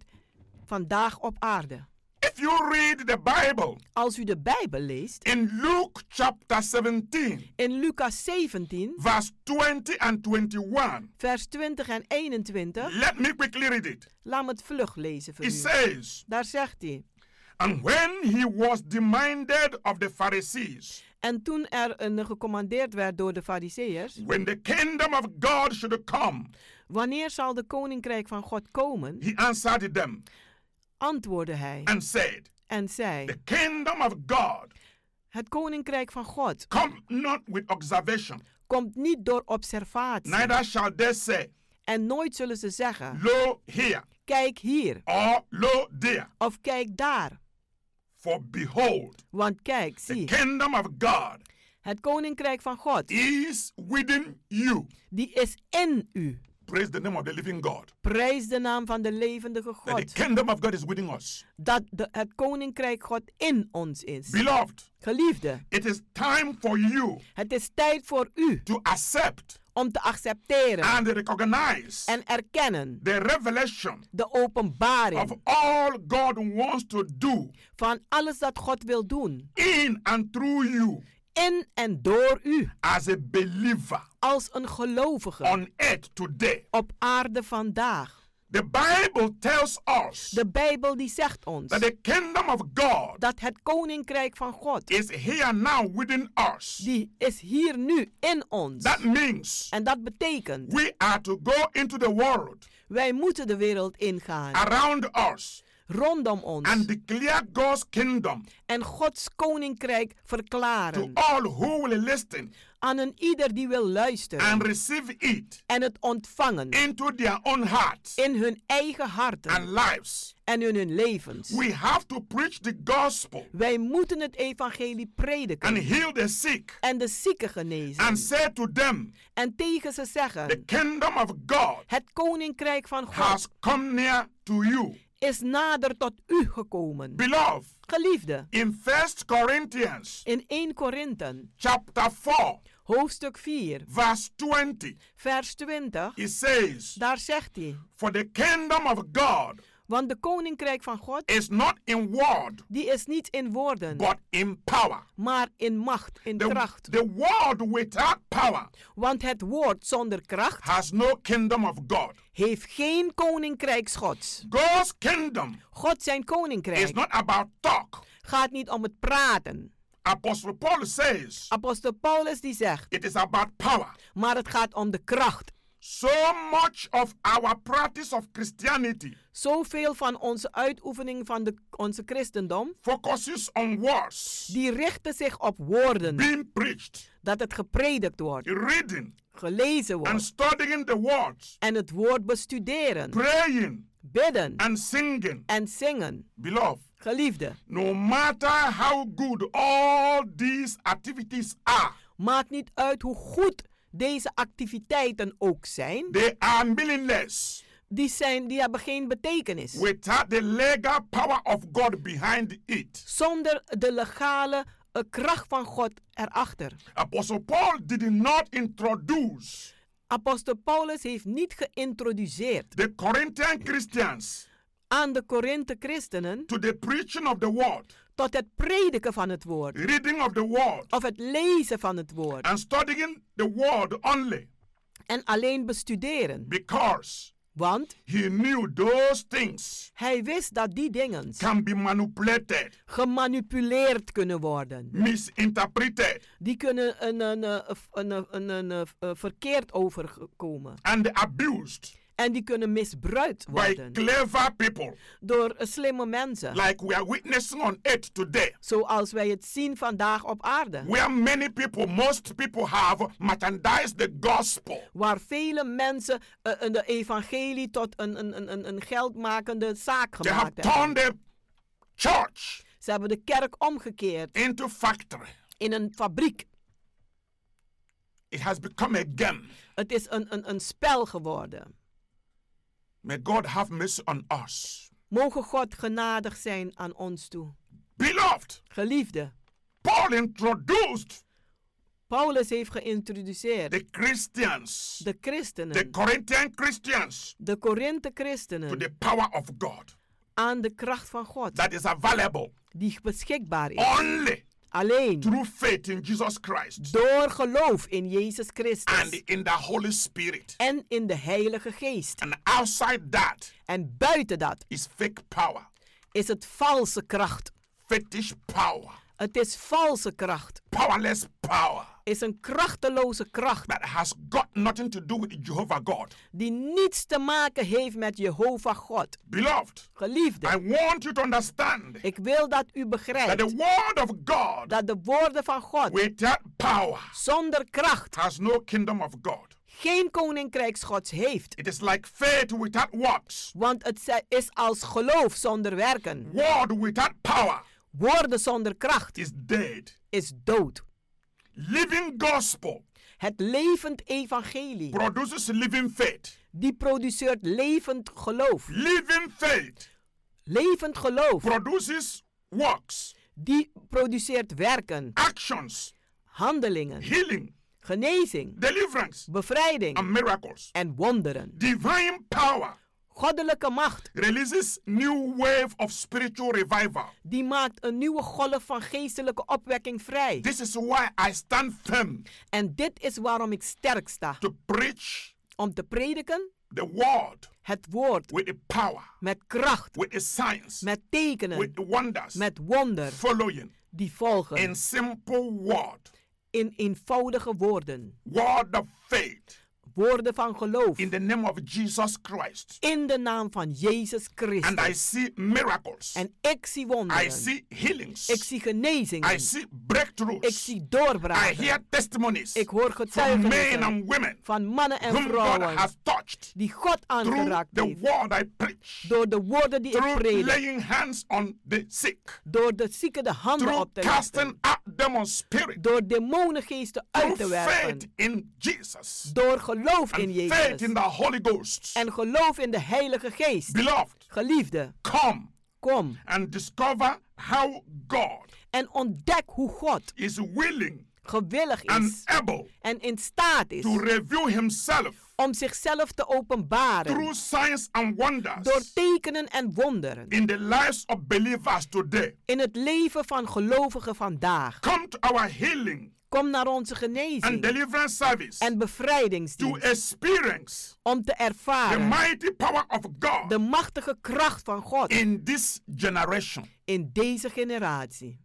[SPEAKER 8] vandaag op aarde.
[SPEAKER 7] If you read the Bible
[SPEAKER 8] Als u de Bijbel leest
[SPEAKER 7] in Luke chapter 17,
[SPEAKER 8] in Lucas 17,
[SPEAKER 7] verse 20 and 21,
[SPEAKER 8] vers 20 en 21,
[SPEAKER 7] let me quickly read it.
[SPEAKER 8] laat me het vlug lezen voor
[SPEAKER 7] It
[SPEAKER 8] u.
[SPEAKER 7] says,
[SPEAKER 8] Daar zegt hij.
[SPEAKER 7] And when he was demanded of the Pharisees,
[SPEAKER 8] En toen er een gecommandeerd werd door de Farizeeërs,
[SPEAKER 7] when the kingdom of God should come,
[SPEAKER 8] wanneer zal de koninkrijk van God komen?
[SPEAKER 7] he answered them
[SPEAKER 8] Antwoordde hij
[SPEAKER 7] and said,
[SPEAKER 8] en
[SPEAKER 7] The
[SPEAKER 8] zei:
[SPEAKER 7] kingdom of God
[SPEAKER 8] Het koninkrijk van God
[SPEAKER 7] come not with observation,
[SPEAKER 8] komt niet door observatie.
[SPEAKER 7] neither shall they say,
[SPEAKER 8] En nooit zullen ze zeggen:
[SPEAKER 7] Lo here
[SPEAKER 8] Kijk hier
[SPEAKER 7] or lo there.
[SPEAKER 8] of kijk daar.
[SPEAKER 7] For behold,
[SPEAKER 8] Want kijk,
[SPEAKER 7] the
[SPEAKER 8] zie,
[SPEAKER 7] kingdom of God
[SPEAKER 8] het koninkrijk van God,
[SPEAKER 7] is within you.
[SPEAKER 8] die is in u.
[SPEAKER 7] Praise the name of the living God.
[SPEAKER 8] Prijs de naam van de levendige
[SPEAKER 7] That the
[SPEAKER 8] God.
[SPEAKER 7] kingdom of God is within us.
[SPEAKER 8] Dat de, het koninkrijk God in ons is.
[SPEAKER 7] Beloved,
[SPEAKER 8] Geliefde,
[SPEAKER 7] it is time for you
[SPEAKER 8] het is tijd voor u
[SPEAKER 7] to accept
[SPEAKER 8] om te accepteren
[SPEAKER 7] and recognize
[SPEAKER 8] en erkennen
[SPEAKER 7] the revelation
[SPEAKER 8] de
[SPEAKER 7] of
[SPEAKER 8] openbaring
[SPEAKER 7] all God wants to do
[SPEAKER 8] van alles dat God wil doen.
[SPEAKER 7] in and through you
[SPEAKER 8] In en door u,
[SPEAKER 7] as a believer
[SPEAKER 8] als een gelovige
[SPEAKER 7] on earth today.
[SPEAKER 8] op aarde vandaag.
[SPEAKER 7] The Bible tells us
[SPEAKER 8] De Bijbel die zegt ons
[SPEAKER 7] that the kingdom of God
[SPEAKER 8] dat het koninkrijk van God,
[SPEAKER 7] is here now within us.
[SPEAKER 8] die is hier nu in ons.
[SPEAKER 7] That means
[SPEAKER 8] En dat betekent,
[SPEAKER 7] we are to go into the world
[SPEAKER 8] wij moeten de wereld ingaan,
[SPEAKER 7] around us
[SPEAKER 8] rondom ons,
[SPEAKER 7] and declare God's kingdom
[SPEAKER 8] en Gods koninkrijk
[SPEAKER 7] to
[SPEAKER 8] verklaren
[SPEAKER 7] all who will listen
[SPEAKER 8] aan een ieder die wil
[SPEAKER 7] and
[SPEAKER 8] luisteren
[SPEAKER 7] receive it
[SPEAKER 8] en het ontvangen
[SPEAKER 7] into their own hearts
[SPEAKER 8] in hun eigen harten
[SPEAKER 7] and lives.
[SPEAKER 8] en in hun levens.
[SPEAKER 7] We have to preach the gospel
[SPEAKER 8] Wij moeten het evangelie
[SPEAKER 7] and
[SPEAKER 8] prediken
[SPEAKER 7] heal the sick
[SPEAKER 8] en de zieken genezen.
[SPEAKER 7] and say to them,
[SPEAKER 8] En tegen ze
[SPEAKER 7] The
[SPEAKER 8] zeggen,
[SPEAKER 7] kingdom of God
[SPEAKER 8] het koninkrijk van God
[SPEAKER 7] has come near to you.
[SPEAKER 8] is nader tot u gekomen.
[SPEAKER 7] Beloved,
[SPEAKER 8] Geliefde,
[SPEAKER 7] in First Corinthians
[SPEAKER 8] in 1 Korinthe,
[SPEAKER 7] chapter 4,
[SPEAKER 8] hoofdstuk 4,
[SPEAKER 7] verse 20,
[SPEAKER 8] vers 20,
[SPEAKER 7] it says,
[SPEAKER 8] daar zegt hij,
[SPEAKER 7] For the kingdom of God
[SPEAKER 8] want de koninkrijk van God,
[SPEAKER 7] is not in word,
[SPEAKER 8] die is niet in woorden,
[SPEAKER 7] but in power.
[SPEAKER 8] maar in macht, in
[SPEAKER 7] The,
[SPEAKER 8] kracht.
[SPEAKER 7] the word without power
[SPEAKER 8] Want het woord zonder kracht
[SPEAKER 7] has no kingdom of God.
[SPEAKER 8] heeft geen koninkrijk Gods.
[SPEAKER 7] God's kingdom
[SPEAKER 8] God zijn
[SPEAKER 7] is
[SPEAKER 8] koninkrijk
[SPEAKER 7] not about talk.
[SPEAKER 8] gaat niet om het praten.
[SPEAKER 7] Apostle Paul says
[SPEAKER 8] Apostel Paulus die zegt,
[SPEAKER 7] it is about power.
[SPEAKER 8] maar het gaat om de kracht.
[SPEAKER 7] So much of our practice of Christianity
[SPEAKER 8] Zoveel van onze uitoefening van de, onze christendom,
[SPEAKER 7] focuses on words
[SPEAKER 8] die richten zich op woorden,
[SPEAKER 7] being preached,
[SPEAKER 8] dat het gepredikt wordt,
[SPEAKER 7] reading
[SPEAKER 8] gelezen
[SPEAKER 7] and
[SPEAKER 8] wordt,
[SPEAKER 7] studying the words,
[SPEAKER 8] en het woord bestuderen,
[SPEAKER 7] praying
[SPEAKER 8] bidden
[SPEAKER 7] and singing.
[SPEAKER 8] en zingen.
[SPEAKER 7] Beloved,
[SPEAKER 8] Geliefde,
[SPEAKER 7] no matter how good all these activities are,
[SPEAKER 8] maakt niet uit hoe goed deze activiteiten ook zijn,
[SPEAKER 7] they are meaningless
[SPEAKER 8] die, zijn, die hebben geen betekenis.
[SPEAKER 7] without the legal power of God behind it.
[SPEAKER 8] zonder de legale eh, kracht van God erachter.
[SPEAKER 7] Apostle Paul did not introduce
[SPEAKER 8] Apostel Paulus heeft niet geïntroduceerd
[SPEAKER 7] the Corinthian Christians
[SPEAKER 8] aan de Korinthe christenen
[SPEAKER 7] to the preaching of the word,
[SPEAKER 8] tot het prediken van het woord
[SPEAKER 7] reading of the word,
[SPEAKER 8] of het lezen van het woord
[SPEAKER 7] and studying the word only
[SPEAKER 8] en alleen bestuderen.
[SPEAKER 7] because
[SPEAKER 8] Want
[SPEAKER 7] he knew those things
[SPEAKER 8] hij wist dat die dingen
[SPEAKER 7] can be manipulated,
[SPEAKER 8] gemanipuleerd kunnen worden.
[SPEAKER 7] misinterpreted,
[SPEAKER 8] Die kunnen een, een, eh, een, een, een, een, eh, eh, verkeerd overkomen.
[SPEAKER 7] and abused
[SPEAKER 8] En die kunnen misbruikt
[SPEAKER 7] by
[SPEAKER 8] worden
[SPEAKER 7] clever people
[SPEAKER 8] door eh, slimme mensen.
[SPEAKER 7] like we are witnessing on earth today.
[SPEAKER 8] Zoals wij het zien vandaag op aarde.
[SPEAKER 7] Where many people, most people have merchandised the gospel
[SPEAKER 8] waar vele mensen eh, eh, de evangelie tot een, een, een, een, een geldmakende zaak
[SPEAKER 7] They have
[SPEAKER 8] gemaakt hebben.
[SPEAKER 7] turned the
[SPEAKER 8] Ze hebben de kerk omgekeerd.
[SPEAKER 7] Into factory.
[SPEAKER 8] In een fabriek.
[SPEAKER 7] It has become a game.
[SPEAKER 8] Het is een, een, een spel geworden.
[SPEAKER 7] May God have mercy on us.
[SPEAKER 8] Mogen God genadig zijn aan ons toe.
[SPEAKER 7] Beloved.
[SPEAKER 8] Geliefde.
[SPEAKER 7] Paul introduced
[SPEAKER 8] Paulus heeft geïntroduceerd.
[SPEAKER 7] The Christians.
[SPEAKER 8] De christenen.
[SPEAKER 7] The Corinthian Christians.
[SPEAKER 8] De Korinthe christenen.
[SPEAKER 7] To the power of God.
[SPEAKER 8] Aan de kracht van God.
[SPEAKER 7] That is available.
[SPEAKER 8] Die beschikbaar is.
[SPEAKER 7] Only.
[SPEAKER 8] Alleen.
[SPEAKER 7] Through faith in Jesus Christ.
[SPEAKER 8] Door geloof in Jezus Christus.
[SPEAKER 7] And in the Holy Spirit.
[SPEAKER 8] En in de Heilige Geest.
[SPEAKER 7] And outside that.
[SPEAKER 8] En buiten dat.
[SPEAKER 7] Is fake power.
[SPEAKER 8] Is het valse kracht.
[SPEAKER 7] Fetish power.
[SPEAKER 8] Het is valse kracht.
[SPEAKER 7] Powerless power.
[SPEAKER 8] Is een krachteloze kracht.
[SPEAKER 7] That has got nothing to do with Jehovah God.
[SPEAKER 8] Die niets te maken heeft met Jehovah God.
[SPEAKER 7] Beloved.
[SPEAKER 8] Geliefde.
[SPEAKER 7] I want you to understand.
[SPEAKER 8] Ik wil dat u begrijpt.
[SPEAKER 7] That the word of God.
[SPEAKER 8] Dat de woorden van God.
[SPEAKER 7] Without power.
[SPEAKER 8] Zonder kracht.
[SPEAKER 7] Has no kingdom of God.
[SPEAKER 8] Geen koninkrijksgods heeft.
[SPEAKER 7] It is like faith without works.
[SPEAKER 8] Want het is als geloof zonder werken.
[SPEAKER 7] Word without power
[SPEAKER 8] woorden zonder kracht
[SPEAKER 7] is, dead.
[SPEAKER 8] is dood.
[SPEAKER 7] Living gospel.
[SPEAKER 8] Het levend evangelie.
[SPEAKER 7] Produces living faith.
[SPEAKER 8] Die produceert levend geloof.
[SPEAKER 7] Living faith.
[SPEAKER 8] Levend geloof.
[SPEAKER 7] Produces works.
[SPEAKER 8] Die produceert werken.
[SPEAKER 7] Actions.
[SPEAKER 8] Handelingen.
[SPEAKER 7] Healing.
[SPEAKER 8] Genezing.
[SPEAKER 7] Deliverance.
[SPEAKER 8] Bevrijding.
[SPEAKER 7] And miracles.
[SPEAKER 8] En wonderen.
[SPEAKER 7] Divine power
[SPEAKER 8] goddelijke macht.
[SPEAKER 7] Releases new wave of spiritual revival.
[SPEAKER 8] Die maakt een nieuwe golf van geestelijke opwekking vrij.
[SPEAKER 7] This is why I stand firm.
[SPEAKER 8] En dit is waarom ik sterk sta.
[SPEAKER 7] To preach.
[SPEAKER 8] Om te prediken.
[SPEAKER 7] The word.
[SPEAKER 8] Het woord.
[SPEAKER 7] With the power.
[SPEAKER 8] Met kracht.
[SPEAKER 7] With the science.
[SPEAKER 8] Met tekenen.
[SPEAKER 7] With the wonders.
[SPEAKER 8] Met wonder.
[SPEAKER 7] Following.
[SPEAKER 8] Die volgen.
[SPEAKER 7] In simple word.
[SPEAKER 8] In eenvoudige woorden.
[SPEAKER 7] Word of faith
[SPEAKER 8] woorden van geloof.
[SPEAKER 7] In the name of Jesus Christ.
[SPEAKER 8] In de naam van Jezus Christus.
[SPEAKER 7] And I see miracles.
[SPEAKER 8] En ik zie wonderen.
[SPEAKER 7] I see healings.
[SPEAKER 8] Ik zie genezingen.
[SPEAKER 7] I see breakthroughs.
[SPEAKER 8] Ik zie doorbraken.
[SPEAKER 7] I hear testimonies.
[SPEAKER 8] Ik hoor getuigenissen.
[SPEAKER 7] From men and women.
[SPEAKER 8] Van mannen en
[SPEAKER 7] whom
[SPEAKER 8] vrouwen.
[SPEAKER 7] God has touched.
[SPEAKER 8] Die God aangeraakt
[SPEAKER 7] the
[SPEAKER 8] heeft.
[SPEAKER 7] Word I preach.
[SPEAKER 8] Door de woorden die
[SPEAKER 7] Through
[SPEAKER 8] ik predik.
[SPEAKER 7] Laying hands on the sick.
[SPEAKER 8] Door de zieken de handen
[SPEAKER 7] Through
[SPEAKER 8] op te
[SPEAKER 7] casting out demon spirit.
[SPEAKER 8] Door demonengeesten
[SPEAKER 7] Through
[SPEAKER 8] uit te werpen.
[SPEAKER 7] faith in Jesus.
[SPEAKER 8] Door geloof
[SPEAKER 7] And
[SPEAKER 8] in Jezus.
[SPEAKER 7] faith in the Holy Ghost.
[SPEAKER 8] En geloof in de Heilige Geest.
[SPEAKER 7] Beloved.
[SPEAKER 8] Geliefde.
[SPEAKER 7] Come.
[SPEAKER 8] Kom.
[SPEAKER 7] And discover how God.
[SPEAKER 8] En ontdek hoe God.
[SPEAKER 7] Is willing.
[SPEAKER 8] Gewillig is.
[SPEAKER 7] And able.
[SPEAKER 8] En in staat is.
[SPEAKER 7] To reveal himself.
[SPEAKER 8] Om zichzelf te openbaren.
[SPEAKER 7] Through signs and wonders.
[SPEAKER 8] Door tekenen en wonderen.
[SPEAKER 7] In the lives of believers today.
[SPEAKER 8] In het leven van gelovigen vandaag.
[SPEAKER 7] Come to our healing.
[SPEAKER 8] Kom naar onze genezing.
[SPEAKER 7] And deliverance service.
[SPEAKER 8] En bevrijdingsdienst.
[SPEAKER 7] To experience.
[SPEAKER 8] Om te ervaren.
[SPEAKER 7] The mighty power of God.
[SPEAKER 8] De machtige kracht van God.
[SPEAKER 7] In this generation.
[SPEAKER 8] In deze generatie.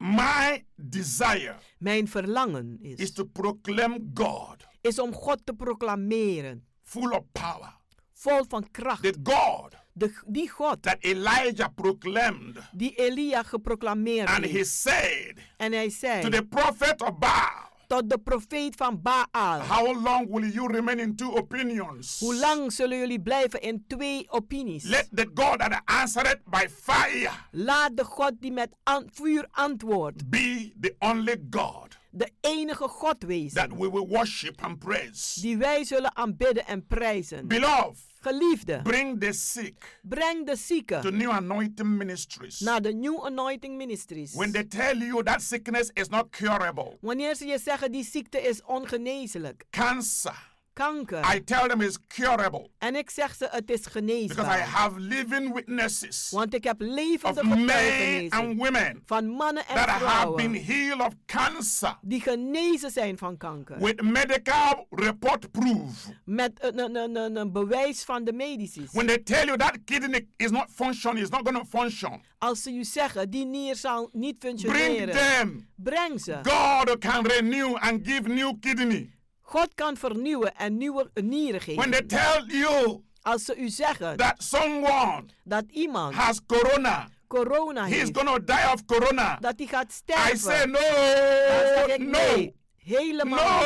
[SPEAKER 7] My desire
[SPEAKER 8] Mijn verlangen is,
[SPEAKER 7] is, to proclaim God,
[SPEAKER 8] is om God te proclameren.
[SPEAKER 7] Full of power.
[SPEAKER 8] Vol van kracht.
[SPEAKER 7] The God
[SPEAKER 8] de, die God
[SPEAKER 7] that Elijah proclaimed.
[SPEAKER 8] die Elia geproclameerd
[SPEAKER 7] And he
[SPEAKER 8] heeft.
[SPEAKER 7] said
[SPEAKER 8] En hij zei
[SPEAKER 7] to the prophet of Baal.
[SPEAKER 8] tot de profeet van Baal.
[SPEAKER 7] How long will you remain in two opinions?
[SPEAKER 8] Hoe lang zullen jullie blijven in twee opinies?
[SPEAKER 7] Let the God that answered by fire
[SPEAKER 8] Laat de God die met an- vuur antwoordt,
[SPEAKER 7] be the only God
[SPEAKER 8] de enige God wezen,
[SPEAKER 7] that we will worship and praise.
[SPEAKER 8] die wij zullen aanbidden en prijzen.
[SPEAKER 7] Beloved,
[SPEAKER 8] Geliefde,
[SPEAKER 7] bring the sick
[SPEAKER 8] breng de
[SPEAKER 7] to
[SPEAKER 8] zieken
[SPEAKER 7] new anointing ministries.
[SPEAKER 8] naar de New Anointing Ministries.
[SPEAKER 7] When they tell you that sickness is not curable,
[SPEAKER 8] Wanneer ze je zeggen die ziekte is ongeneeslijk,
[SPEAKER 7] cancer, I
[SPEAKER 8] kanker,
[SPEAKER 7] tell them is curable
[SPEAKER 8] en ik zeg ze het is
[SPEAKER 7] because I
[SPEAKER 8] geneesbaar.
[SPEAKER 7] have living witnesses
[SPEAKER 8] Want ik heb
[SPEAKER 7] of
[SPEAKER 8] levende
[SPEAKER 7] men and
[SPEAKER 8] getuigenissen
[SPEAKER 7] women
[SPEAKER 8] van mannen en
[SPEAKER 7] that have been
[SPEAKER 8] vrouwen
[SPEAKER 7] healed of cancer
[SPEAKER 8] die genezen zijn van kanker.
[SPEAKER 7] with medical report proof.
[SPEAKER 8] Met een, een, een, een- een bewijs van de medici.
[SPEAKER 7] When they tell you that kidney is not functioning, it's not going to function,
[SPEAKER 8] Als ze u zeggen, die nier zal niet
[SPEAKER 7] bring
[SPEAKER 8] functioneren.
[SPEAKER 7] them.
[SPEAKER 8] Breng ze.
[SPEAKER 7] God can renew and give new kidney.
[SPEAKER 8] God kan vernieuwen en nieuwe nieren
[SPEAKER 7] When they
[SPEAKER 8] geven.
[SPEAKER 7] tell you
[SPEAKER 8] Als ze u zeggen
[SPEAKER 7] that someone
[SPEAKER 8] dat iemand
[SPEAKER 7] has corona,
[SPEAKER 8] corona
[SPEAKER 7] he's
[SPEAKER 8] heeft,
[SPEAKER 7] going to die of corona.
[SPEAKER 8] dat die gaat
[SPEAKER 7] I say
[SPEAKER 8] sterven. Dan zeg
[SPEAKER 7] no,
[SPEAKER 8] ik
[SPEAKER 7] no,
[SPEAKER 8] nee. Helemaal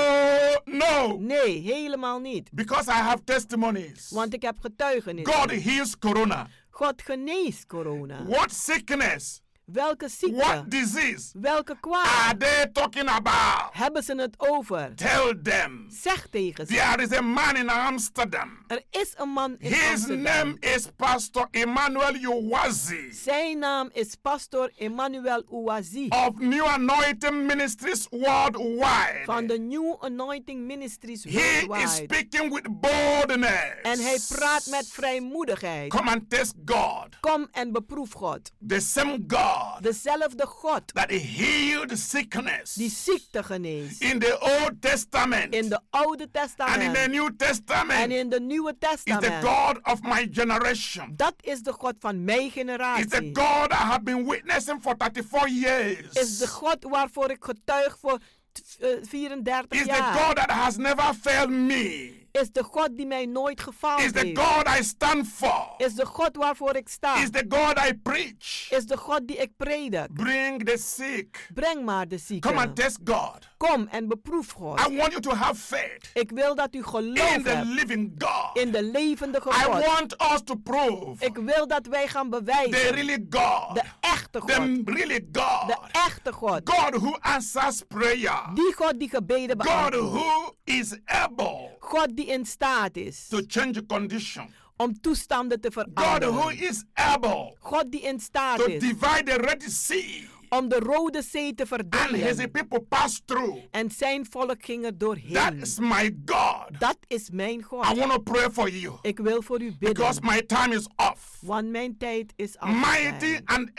[SPEAKER 8] niet.
[SPEAKER 7] no, no.
[SPEAKER 8] Nee, helemaal niet.
[SPEAKER 7] Because I have testimonies.
[SPEAKER 8] Want ik heb getuigenis.
[SPEAKER 7] God heals corona.
[SPEAKER 8] God geneest corona.
[SPEAKER 7] What sickness?
[SPEAKER 8] Welke ziekte?
[SPEAKER 7] What disease?
[SPEAKER 8] Welke kwaal?
[SPEAKER 7] Are they talking about?
[SPEAKER 8] Hebben ze het over?
[SPEAKER 7] Tell them.
[SPEAKER 8] Zeg tegen ze.
[SPEAKER 7] There is a man in Amsterdam.
[SPEAKER 8] Er is een man in
[SPEAKER 7] His
[SPEAKER 8] Amsterdam.
[SPEAKER 7] name is Pastor Emmanuel Uwazi
[SPEAKER 8] Zijn naam is pastor Emmanuel Ouazi
[SPEAKER 7] of New Anointing Ministries worldwide.
[SPEAKER 8] van de New Anointing Ministries
[SPEAKER 7] He is
[SPEAKER 8] worldwide.
[SPEAKER 7] speaking with boldness.
[SPEAKER 8] En hij praat met vrijmoedigheid.
[SPEAKER 7] Come and test God,
[SPEAKER 8] Kom en beproef God.
[SPEAKER 7] the same God
[SPEAKER 8] Dezelfde God
[SPEAKER 7] that healed sickness
[SPEAKER 8] die ziekte geneest.
[SPEAKER 7] in the Old Testament
[SPEAKER 8] In de Oude
[SPEAKER 7] and in the
[SPEAKER 8] Testament
[SPEAKER 7] New
[SPEAKER 8] en
[SPEAKER 7] Testament
[SPEAKER 8] in de Nieuwe
[SPEAKER 7] is the
[SPEAKER 8] Testament.
[SPEAKER 7] God of my generation.
[SPEAKER 8] Dat is de God van mijn
[SPEAKER 7] Is the
[SPEAKER 8] generatie.
[SPEAKER 7] God I have been witnessing for 34 years.
[SPEAKER 8] Is de God waarvoor ik getuig voor t- eh, 34
[SPEAKER 7] Is the God
[SPEAKER 8] jaar.
[SPEAKER 7] that has never failed me.
[SPEAKER 8] Is de God die mij nooit
[SPEAKER 7] Is
[SPEAKER 8] gefaald
[SPEAKER 7] the
[SPEAKER 8] heeft.
[SPEAKER 7] God I stand for.
[SPEAKER 8] Is de God waarvoor ik sta.
[SPEAKER 7] Is the God I preach.
[SPEAKER 8] Is de God die ik predik.
[SPEAKER 7] Bring the sick.
[SPEAKER 8] Breng maar de
[SPEAKER 7] Come and
[SPEAKER 8] zieken.
[SPEAKER 7] test God.
[SPEAKER 8] Kom en beproef God.
[SPEAKER 7] I want you to have faith
[SPEAKER 8] Ik wil dat u
[SPEAKER 7] in
[SPEAKER 8] geloof
[SPEAKER 7] the
[SPEAKER 8] hebt
[SPEAKER 7] living God.
[SPEAKER 8] in de levendige
[SPEAKER 7] I
[SPEAKER 8] God.
[SPEAKER 7] want us to prove
[SPEAKER 8] Ik wil dat wij gaan
[SPEAKER 7] the
[SPEAKER 8] bewijzen.
[SPEAKER 7] really God.
[SPEAKER 8] De echte God.
[SPEAKER 7] The really
[SPEAKER 8] De
[SPEAKER 7] God.
[SPEAKER 8] echte God.
[SPEAKER 7] God who answers prayer.
[SPEAKER 8] Die God die gebeden
[SPEAKER 7] God
[SPEAKER 8] beantwoordt.
[SPEAKER 7] who is able
[SPEAKER 8] God die in staat is
[SPEAKER 7] to change condition.
[SPEAKER 8] om toestanden te
[SPEAKER 7] God who
[SPEAKER 8] veranderen.
[SPEAKER 7] is able
[SPEAKER 8] God die in staat
[SPEAKER 7] to
[SPEAKER 8] is
[SPEAKER 7] divide the Red Sea
[SPEAKER 8] om de Rode Zee te
[SPEAKER 7] and his
[SPEAKER 8] verdelen.
[SPEAKER 7] people pass through.
[SPEAKER 8] En zijn volk ging er
[SPEAKER 7] That
[SPEAKER 8] doorheen.
[SPEAKER 7] is my God.
[SPEAKER 8] Dat is mijn
[SPEAKER 7] I
[SPEAKER 8] God.
[SPEAKER 7] want to pray for you
[SPEAKER 8] Ik wil voor u
[SPEAKER 7] because
[SPEAKER 8] bidden,
[SPEAKER 7] my time is off.
[SPEAKER 8] want mijn tijd is
[SPEAKER 7] Mighty
[SPEAKER 8] afgelopen.
[SPEAKER 7] and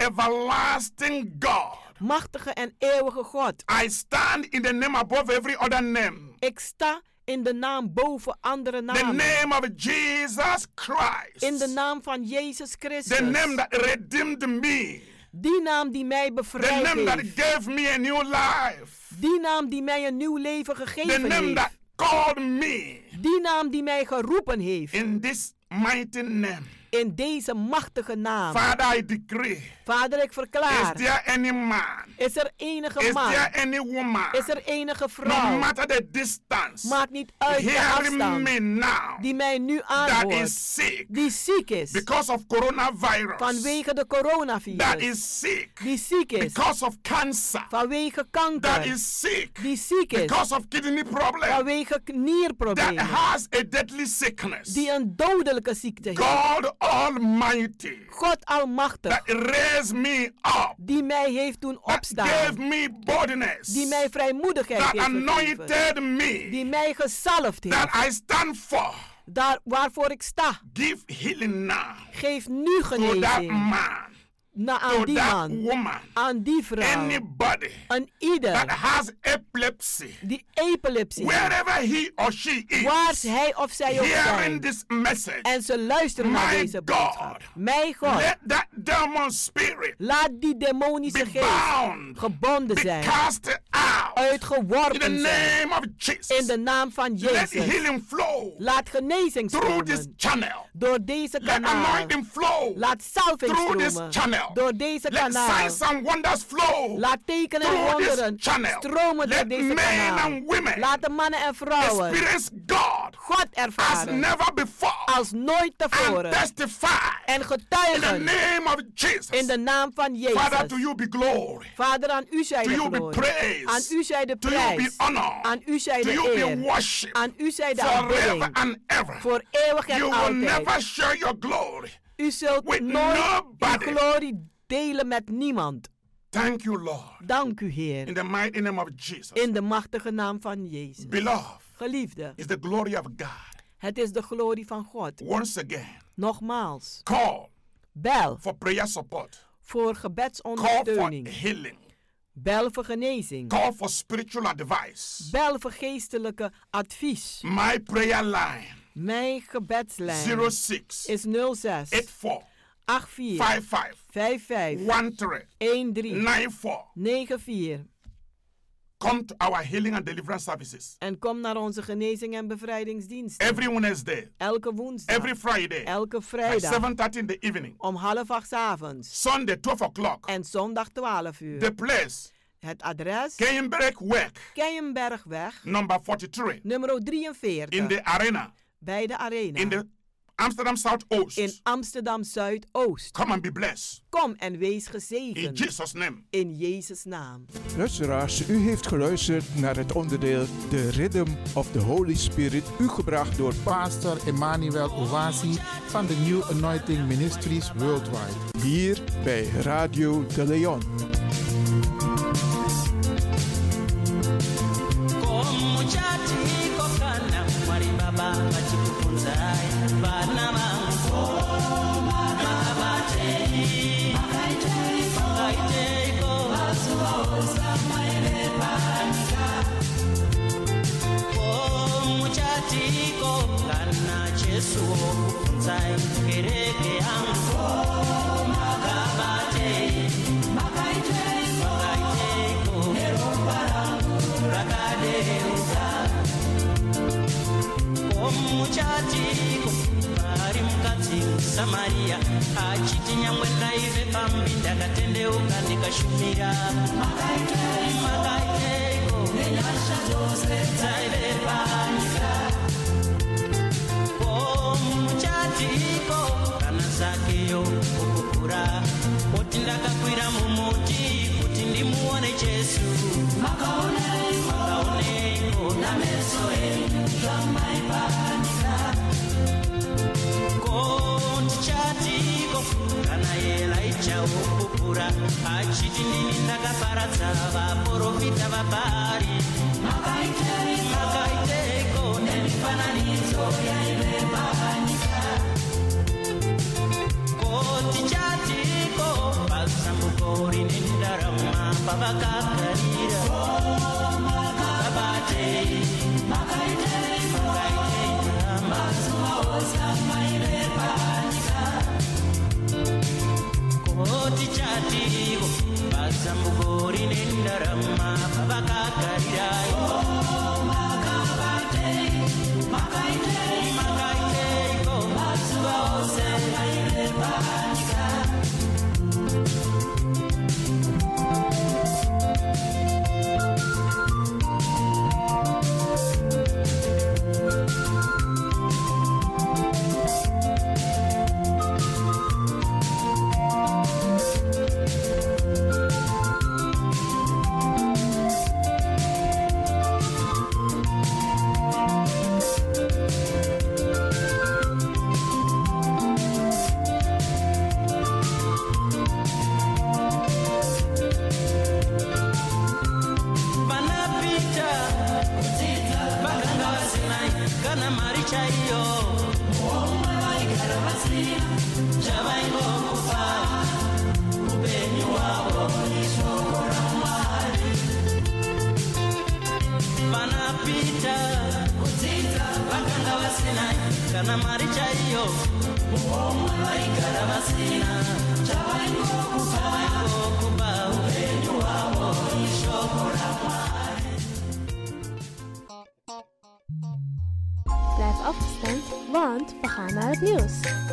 [SPEAKER 7] everlasting God,
[SPEAKER 8] Machtige en eeuwige God,
[SPEAKER 7] I stand in the name above every other name.
[SPEAKER 8] ik sta in de naam boven andere
[SPEAKER 7] The
[SPEAKER 8] namen.
[SPEAKER 7] name of Jesus Christ.
[SPEAKER 8] In de naam van Jezus
[SPEAKER 7] The name
[SPEAKER 8] Christus.
[SPEAKER 7] that redeemed me.
[SPEAKER 8] Die naam die mij
[SPEAKER 7] The
[SPEAKER 8] bevrijd
[SPEAKER 7] name that
[SPEAKER 8] heeft.
[SPEAKER 7] gave me a new life.
[SPEAKER 8] Die naam die mij een nieuw leven
[SPEAKER 7] The
[SPEAKER 8] gegeven
[SPEAKER 7] name that
[SPEAKER 8] heeft.
[SPEAKER 7] called me
[SPEAKER 8] Die naam die mij geroepen heeft.
[SPEAKER 7] in this mighty name.
[SPEAKER 8] In deze machtige naam.
[SPEAKER 7] Father, I decree.
[SPEAKER 8] Vader, ik
[SPEAKER 7] Is
[SPEAKER 8] verklaar.
[SPEAKER 7] there any man?
[SPEAKER 8] Is er enige
[SPEAKER 7] Is there
[SPEAKER 8] man?
[SPEAKER 7] any woman?
[SPEAKER 8] Is er enige
[SPEAKER 7] No
[SPEAKER 8] vrouw?
[SPEAKER 7] matter the distance.
[SPEAKER 8] Maakt niet uit de
[SPEAKER 7] Hearing me
[SPEAKER 8] afstand
[SPEAKER 7] now.
[SPEAKER 8] die mij nu
[SPEAKER 7] That is
[SPEAKER 8] aanhoort.
[SPEAKER 7] sick.
[SPEAKER 8] Die ziek is
[SPEAKER 7] because of coronavirus
[SPEAKER 8] vanwege de
[SPEAKER 7] that
[SPEAKER 8] coronavirus.
[SPEAKER 7] is sick
[SPEAKER 8] Die ziek is
[SPEAKER 7] because of cancer
[SPEAKER 8] vanwege
[SPEAKER 7] that
[SPEAKER 8] kanker.
[SPEAKER 7] is sick
[SPEAKER 8] Die ziek is
[SPEAKER 7] because of kidney problem
[SPEAKER 8] vanwege
[SPEAKER 7] that
[SPEAKER 8] nierproblemen.
[SPEAKER 7] has a deadly sickness
[SPEAKER 8] Die een dodelijke ziekte heeft.
[SPEAKER 7] god almighty
[SPEAKER 8] God
[SPEAKER 7] that
[SPEAKER 8] Almachtig,
[SPEAKER 7] raised me up
[SPEAKER 8] die mij heeft doen
[SPEAKER 7] that gave
[SPEAKER 8] opstaan.
[SPEAKER 7] me boldness
[SPEAKER 8] Die mij vrijmoedigheid
[SPEAKER 7] that
[SPEAKER 8] heeft gegeven.
[SPEAKER 7] anointed me
[SPEAKER 8] Die mij gezalfd
[SPEAKER 7] that
[SPEAKER 8] heeft.
[SPEAKER 7] i stand for
[SPEAKER 8] Daar waarvoor ik sta.
[SPEAKER 7] give healing now
[SPEAKER 8] Geef nu
[SPEAKER 7] to that
[SPEAKER 8] genezing
[SPEAKER 7] man
[SPEAKER 8] na aan
[SPEAKER 7] to
[SPEAKER 8] die
[SPEAKER 7] that
[SPEAKER 8] man,
[SPEAKER 7] woman
[SPEAKER 8] aan die vrouw,
[SPEAKER 7] anybody
[SPEAKER 8] aan
[SPEAKER 7] that
[SPEAKER 8] ieder
[SPEAKER 7] has epilepsy
[SPEAKER 8] die epilepsie heeft.
[SPEAKER 7] Wherever he or she
[SPEAKER 8] Waar
[SPEAKER 7] is
[SPEAKER 8] hij of zij ook
[SPEAKER 7] hearing
[SPEAKER 8] zijn.
[SPEAKER 7] this message,
[SPEAKER 8] En ze luisteren naar
[SPEAKER 7] My
[SPEAKER 8] deze
[SPEAKER 7] God.
[SPEAKER 8] boodschap. Mijn God,
[SPEAKER 7] let that demon spirit
[SPEAKER 8] laat die demonische
[SPEAKER 7] be
[SPEAKER 8] geest
[SPEAKER 7] bound,
[SPEAKER 8] gebonden
[SPEAKER 7] be
[SPEAKER 8] zijn.
[SPEAKER 7] cast out in the
[SPEAKER 8] Uitgeworpen zijn.
[SPEAKER 7] name of
[SPEAKER 8] Oh, In
[SPEAKER 7] Jesus.
[SPEAKER 8] de naam van
[SPEAKER 7] Let
[SPEAKER 8] Jezus.
[SPEAKER 7] healing flow
[SPEAKER 8] Laat genezing
[SPEAKER 7] through this
[SPEAKER 8] stromen.
[SPEAKER 7] channel.
[SPEAKER 8] Door deze
[SPEAKER 7] Let
[SPEAKER 8] kanaal.
[SPEAKER 7] anointing flow
[SPEAKER 8] Laat salving
[SPEAKER 7] through this
[SPEAKER 8] stromen.
[SPEAKER 7] channel.
[SPEAKER 8] Door deze
[SPEAKER 7] Let
[SPEAKER 8] kanaal.
[SPEAKER 7] signs and wonders flow
[SPEAKER 8] Laat tekenen en
[SPEAKER 7] through this
[SPEAKER 8] wonderen
[SPEAKER 7] channel.
[SPEAKER 8] stromen door
[SPEAKER 7] Let
[SPEAKER 8] deze
[SPEAKER 7] men
[SPEAKER 8] kanaal.
[SPEAKER 7] and women
[SPEAKER 8] Laat de mannen en vrouwen
[SPEAKER 7] experience God
[SPEAKER 8] God
[SPEAKER 7] as
[SPEAKER 8] ervaren
[SPEAKER 7] never before
[SPEAKER 8] als nooit
[SPEAKER 7] and
[SPEAKER 8] tevoren.
[SPEAKER 7] testify
[SPEAKER 8] En
[SPEAKER 7] In the
[SPEAKER 8] getuigen
[SPEAKER 7] name of Jesus.
[SPEAKER 8] in de naam van
[SPEAKER 7] Father, to
[SPEAKER 8] Jezus.
[SPEAKER 7] you be glory.
[SPEAKER 8] Vader, aan u zij
[SPEAKER 7] To
[SPEAKER 8] de
[SPEAKER 7] you be
[SPEAKER 8] glorie.
[SPEAKER 7] praise.
[SPEAKER 8] Aan u zij de
[SPEAKER 7] To you be
[SPEAKER 8] prijs.
[SPEAKER 7] honor.
[SPEAKER 8] Aan u zij
[SPEAKER 7] To
[SPEAKER 8] de
[SPEAKER 7] you be
[SPEAKER 8] eer.
[SPEAKER 7] worship.
[SPEAKER 8] Aan u zij de
[SPEAKER 7] Forever
[SPEAKER 8] aanbidding.
[SPEAKER 7] and ever.
[SPEAKER 8] Voor eeuwig en
[SPEAKER 7] You will
[SPEAKER 8] altijd.
[SPEAKER 7] never share your glory.
[SPEAKER 8] U zult
[SPEAKER 7] with
[SPEAKER 8] nooit uw
[SPEAKER 7] nobody.
[SPEAKER 8] glorie delen met niemand.
[SPEAKER 7] Thank you, Lord.
[SPEAKER 8] Dank u,
[SPEAKER 7] In
[SPEAKER 8] Heer.
[SPEAKER 7] the mighty name of Jesus.
[SPEAKER 8] In de machtige naam van Jezus.
[SPEAKER 7] Beloved,
[SPEAKER 8] Geliefde,
[SPEAKER 7] is the glory of God.
[SPEAKER 8] het is de glorie van God.
[SPEAKER 7] Once again,
[SPEAKER 8] Nogmaals,
[SPEAKER 7] call
[SPEAKER 8] bel
[SPEAKER 7] for prayer support.
[SPEAKER 8] voor
[SPEAKER 7] Call for
[SPEAKER 8] gebedsondersteuning.
[SPEAKER 7] healing.
[SPEAKER 8] Bel voor genezing.
[SPEAKER 7] Call for spiritual advice.
[SPEAKER 8] Bel voor geestelijke advies.
[SPEAKER 7] My prayer line
[SPEAKER 8] Mijn gebedslijn
[SPEAKER 7] 06
[SPEAKER 8] is 06
[SPEAKER 7] 84
[SPEAKER 8] 84
[SPEAKER 7] 55
[SPEAKER 8] 55
[SPEAKER 7] 13
[SPEAKER 8] 13
[SPEAKER 7] 94.
[SPEAKER 8] 94
[SPEAKER 7] Come to our healing and deliverance services
[SPEAKER 8] en kom naar onze genezing en bevrijdingsdienst.
[SPEAKER 7] every Wednesday,
[SPEAKER 8] Elke woensdag,
[SPEAKER 7] every Friday,
[SPEAKER 8] elke
[SPEAKER 7] by
[SPEAKER 8] vrijdag
[SPEAKER 7] 7.30 in the evening,
[SPEAKER 8] om half acht 's avonds
[SPEAKER 7] Sunday, 12 o'clock.
[SPEAKER 8] en zondag 12 uur.
[SPEAKER 7] The place,
[SPEAKER 8] Het adres
[SPEAKER 7] Keienberg Work,
[SPEAKER 8] Keienbergweg,
[SPEAKER 7] number 43,
[SPEAKER 8] nummer
[SPEAKER 7] in
[SPEAKER 8] 43
[SPEAKER 7] the arena,
[SPEAKER 8] bij de
[SPEAKER 7] in
[SPEAKER 8] Arena.
[SPEAKER 7] the Amsterdam Zuidoost.
[SPEAKER 10] In Amsterdam Zuidoost.
[SPEAKER 7] Come and be blessed.
[SPEAKER 10] Kom en wees gezegend.
[SPEAKER 7] In Jesus' name.
[SPEAKER 10] In Jezus' naam.
[SPEAKER 9] Luisteraars, u heeft geluisterd naar het onderdeel The Rhythm of the Holy Spirit, u gebracht door
[SPEAKER 4] Pastor Emmanuel Owasi van de New Anointing Ministries Worldwide.
[SPEAKER 9] Hier bij Radio de Leon.
[SPEAKER 8] Yesu wokufunza kereke yangu makabatei makaiteiko neromba rangu rakadeuka omuchatiko vari mukadzi musamariya achiti nyangwe ndaive pambi ndakatendeuka ndikashumira makaiteiko nenyasha dzose dzaive panyika muchatiko kana zakeyo kukukura oti ndakakwira mumuti kuti ndimuone jesu makaoneiko nameso enyu zvamaipanika kontichatiko kana elaijawo kukura achiti ndini ndakaparadza vaprofita vabhari makaiteiko nemifananidzo yaive panyika kotichatiko pasambuko rine ndarama pavakagarira kabatei makaiteiko mazuva ose amaive panyika koti chatiko pasambuko rine ndarama pavakagarirayo makaiteiko mazuva ose amaive panyika panapita vakanga vasina kana mari chaiyo chavaingokufa upenyu hwavo ishoko ramwari panapita vakanga vasina kana mari chaiyo vaigara vasina chavaingokufa upenyu hwavo ishoko ramwari
[SPEAKER 11] Blijf afgestemd, want we gaan naar het nieuws.